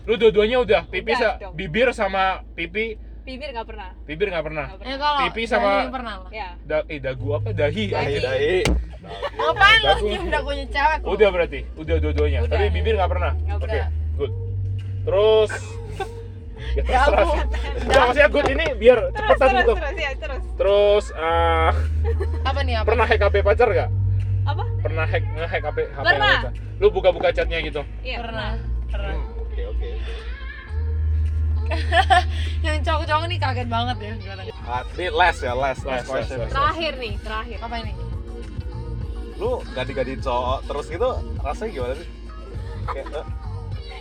lu dua-duanya udah pipi
Udah
sa-
dong.
bibir sama pipi
Bibir nggak pernah.
bibir nggak pernah
Nggak
ya
pernah.
kalau
Pipi sama-
dahi pernah lah
Ya.
da- eh dagu apa dahi
Dahi
Dahi.
dahi.
ngapain lo
Dagu.
nyium dagunya cewek lo?
udah berarti udah dua-duanya
Udah.
tapi bibir nggak pernah
Nggak
oke
pernah.
good
[laughs]
terus ya terserah
Dagu.
sih. Nggak, maksudnya good ini biar
Terus
cepetan
terus
gitu
terus ya terus.
terus eh,
apa nih apa
pernah hack HP pacar nggak
Apa?
pernah hack nge-hack HP HP
Pernah.
pacar lu buka-buka chatnya gitu
Iya.
pernah pernah
Hmm, Oke oke. oke.
yang cowok-cowok nih kaget banget ya sekarang
Ah, Ini last ya last
Last,
last question.
last,
Terakhir nih, terakhir.
apa ini
Lu gadi-gadi cowok terus gitu rasanya gimana sih? Kayak, eh,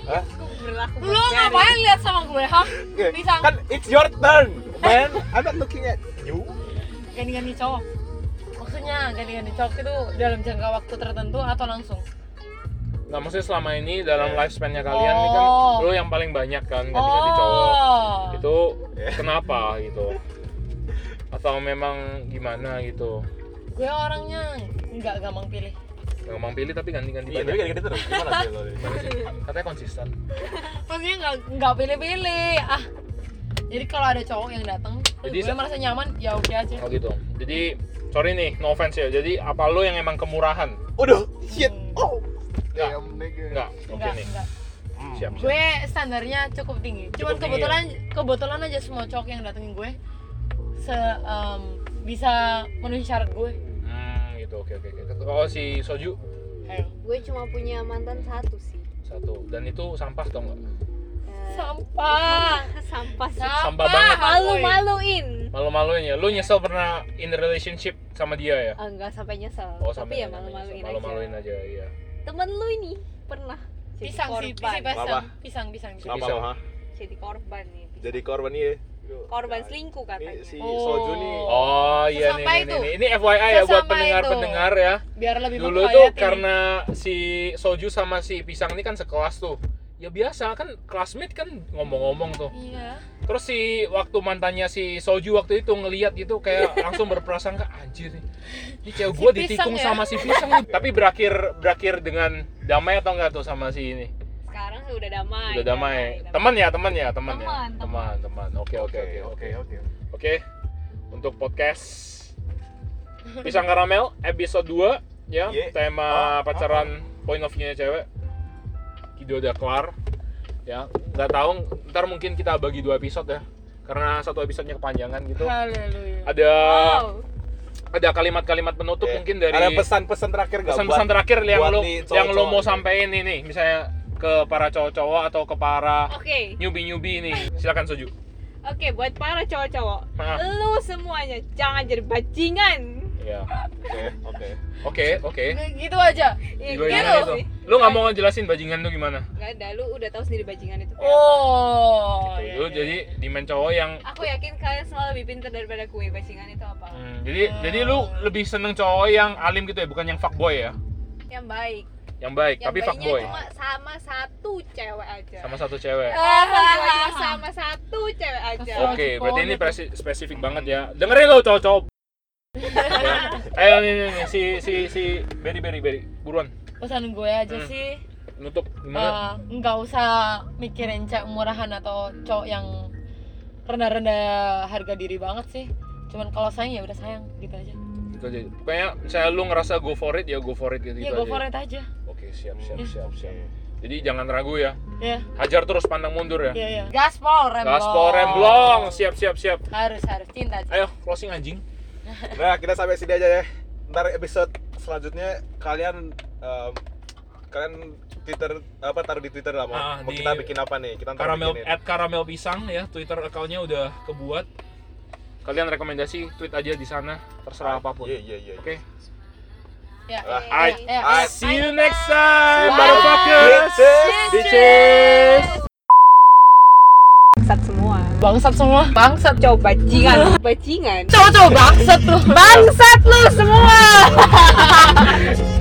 Hah?
Aku berlaku
lu ngapain lihat sama gue hah
Oke,
Pisang.
Kan it's your turn,
[laughs]
man. I'm not looking at you.
kan-
ganti-ganti cowok maksudnya ganti-ganti cowok itu dalam jangka waktu tertentu atau langsung
nggak maksudnya selama ini dalam lifespan-nya kalian ini kan
Oh.
lo yang paling banyak kan ganti-ganti cowok
oh
Eh.
itu kenapa gitu atau memang gimana gitu
gue orangnya nggak gampang pilih
gampang pilih tapi ganti-ganti
Iya, tapi
banyak
kayak gitu terus. Gimana sih lo?
katanya konsisten
maksudnya nggak nggak pilih-pilih ah jadi kalau ada cowok yang datang terus
Jadi
gue
se-
merasa nyaman ya oke aja
oh gitu jadi sorry nih no offense ya jadi apa lo yang emang kemurahan
Waduh, shit.
Hmm.
Oh.
Nggak.
Damn, nigga.
enggak oke
enggak
nih
enggak
Hmm.
siap siap
gue standarnya cukup tinggi cuman
Cukup tinggi, ya?
kebetulan kebetulan aja semua cowok yang datengin gue se em, bisa memenuhi syarat gue
hmm, gitu oke oke oke kalau si soju
ayo
gue cuma punya mantan satu sih
satu dan itu sampah atau enggak
Eh,
sampah
sampah sih
Sampah.
sampah banget
malu maluin
malu-maluin ya lo nyesel pernah in relationship sama dia ya
Ah, nggak sampai nyesel
Oh, sampai
tapi ya malu
namanya,
maluin
malu-maluin
aja.
aja iya
temen lu ini pernah jadi
pisang sih
korban
pisang
Apa?
pisang pisang pisang
Kenapa?
Kenapa,
Bisa.
ha?
jadi korban nih pisang.
Jadi korban iya.
korban
Nah,
selingkuh
Ini
iya
katanya
si
Oh.
Soju nih.
Oh iya nih,
Sesampai
nih,
itu.
nih. ini FYI ya buat
Sesampai
pendengar-pendengar ya.
biar lebih
Dulu
berkualitas
tuh
ini.
karena si Soju sama si Pisang ini kan sekelas tuh. Ya biasa kan classmate kan ngomong-ngomong tuh.
iya
Terus si waktu mantannya si Soju waktu itu ngeliat gitu kayak langsung berprasangka anjir nih. Ini cewek
Si
gua
Pisang
ditikung
ya?"
sama si Pisang nih. Tapi berakhir berakhir dengan damai atau enggak tuh sama si ini?
sekarang sih udah damai
Udah damai. Teman ya, teman ya, teman ya.
Teman,
Teman, teman. Oke, oke, oke, oke.
oke.
Oke, untuk podcast Pisang Karamel episode 2 ya,
Ye.
tema
Ah,
pacaran point of view-nya cewek. Video udah kelar. Ya, nggak tahu ntar mungkin kita bagi dua episode ya. Karena satu episodenya kepanjangan gitu.
haleluya
Ada
wow
ada kalimat-kalimat penutup
Oke.
mungkin dari
Ada pesan-pesan terakhir nggak
pesan-pesan terakhir yang
buat
lo
nih
yang lo
cowok-cowok
mau
gitu.
sampein ini misalnya ke para cowok-cowok atau ke para
oke
newbie-newbie ini. Silakan Soju.
oke buat para cowok-cowok
Maaf.
lu semuanya jangan jadi bajingan
Iya.
Oke, oke.
Oke, oke.
gitu aja
ya
Gua ingat
gitu
Iya, itu.
sih
Lu nggak mau ngejelasin bajingan lu gimana?
nggak ada lu udah tahu sendiri bajingan itu kayak apa.
oh
Gitu.
iya,
Lu
iya.
jadi dimen cowok yang
aku yakin kalian semua lebih pintar daripada gue bajingan itu apa
Hmm, jadi jadi lu lebih seneng cowok yang alim gitu ya, bukan yang fuckboy ya.
yang baik
Yang baik,
yang
tapi
baiknya
fuckboy.
cuma sama satu cewek aja
Sama satu cewek.
Ah, cuma sama satu cewek aja
Oke,
Oke,
berarti ini
pokoknya
presi- spesifik banget ya. Dengerin lo cowok-cowok. Ya. Ayo nih, nih, nih, si si si Berry Berry Berry buruan
pesan gue aja
Hmm.
sih
nutup gimana?
eh, nggak usah mikirin cewek murahan atau cowok yang rendah-rendah harga diri banget sih cuman kalau sayang ya udah sayang gitu aja
Gitu aja. Pokoknya saya lu ngerasa go for it ya go for it gitu,
ya
gitu
go
aja.
for it aja
Oke, siap siap
Ya.
siap siap. Jadi jangan ragu ya.
ya
Hajar terus pandang mundur ya.
ya ya gaspol remblong
Gaspol remblong, siap siap siap.
harus harus cinta cinta.
Ayo closing anjing.
Nah, kita sampai sini aja ya. Ntar episode selanjutnya kalian em, kalian Twitter apa taruh di Twitter lah mau,
Ah,
mau
di-
kita bikin apa nih? Kita ntar
Karamel
bikinin.
at karamel pisang ya, Twitter accountnya udah kebuat. Kalian rekomendasi tweet aja di sana, terserah apapun.
Iya, iya, iya.
Oke.
ya
Ah,
Oke.
ya,
ah,
ya.
See you next time,
Bye.
motherfuckers.
Bitches.
Bitches.
bangsat semua
bangsat semua bangsat
cowok bajingan bajingan
cowok-cowok bangsat tuh
bangsat lu semua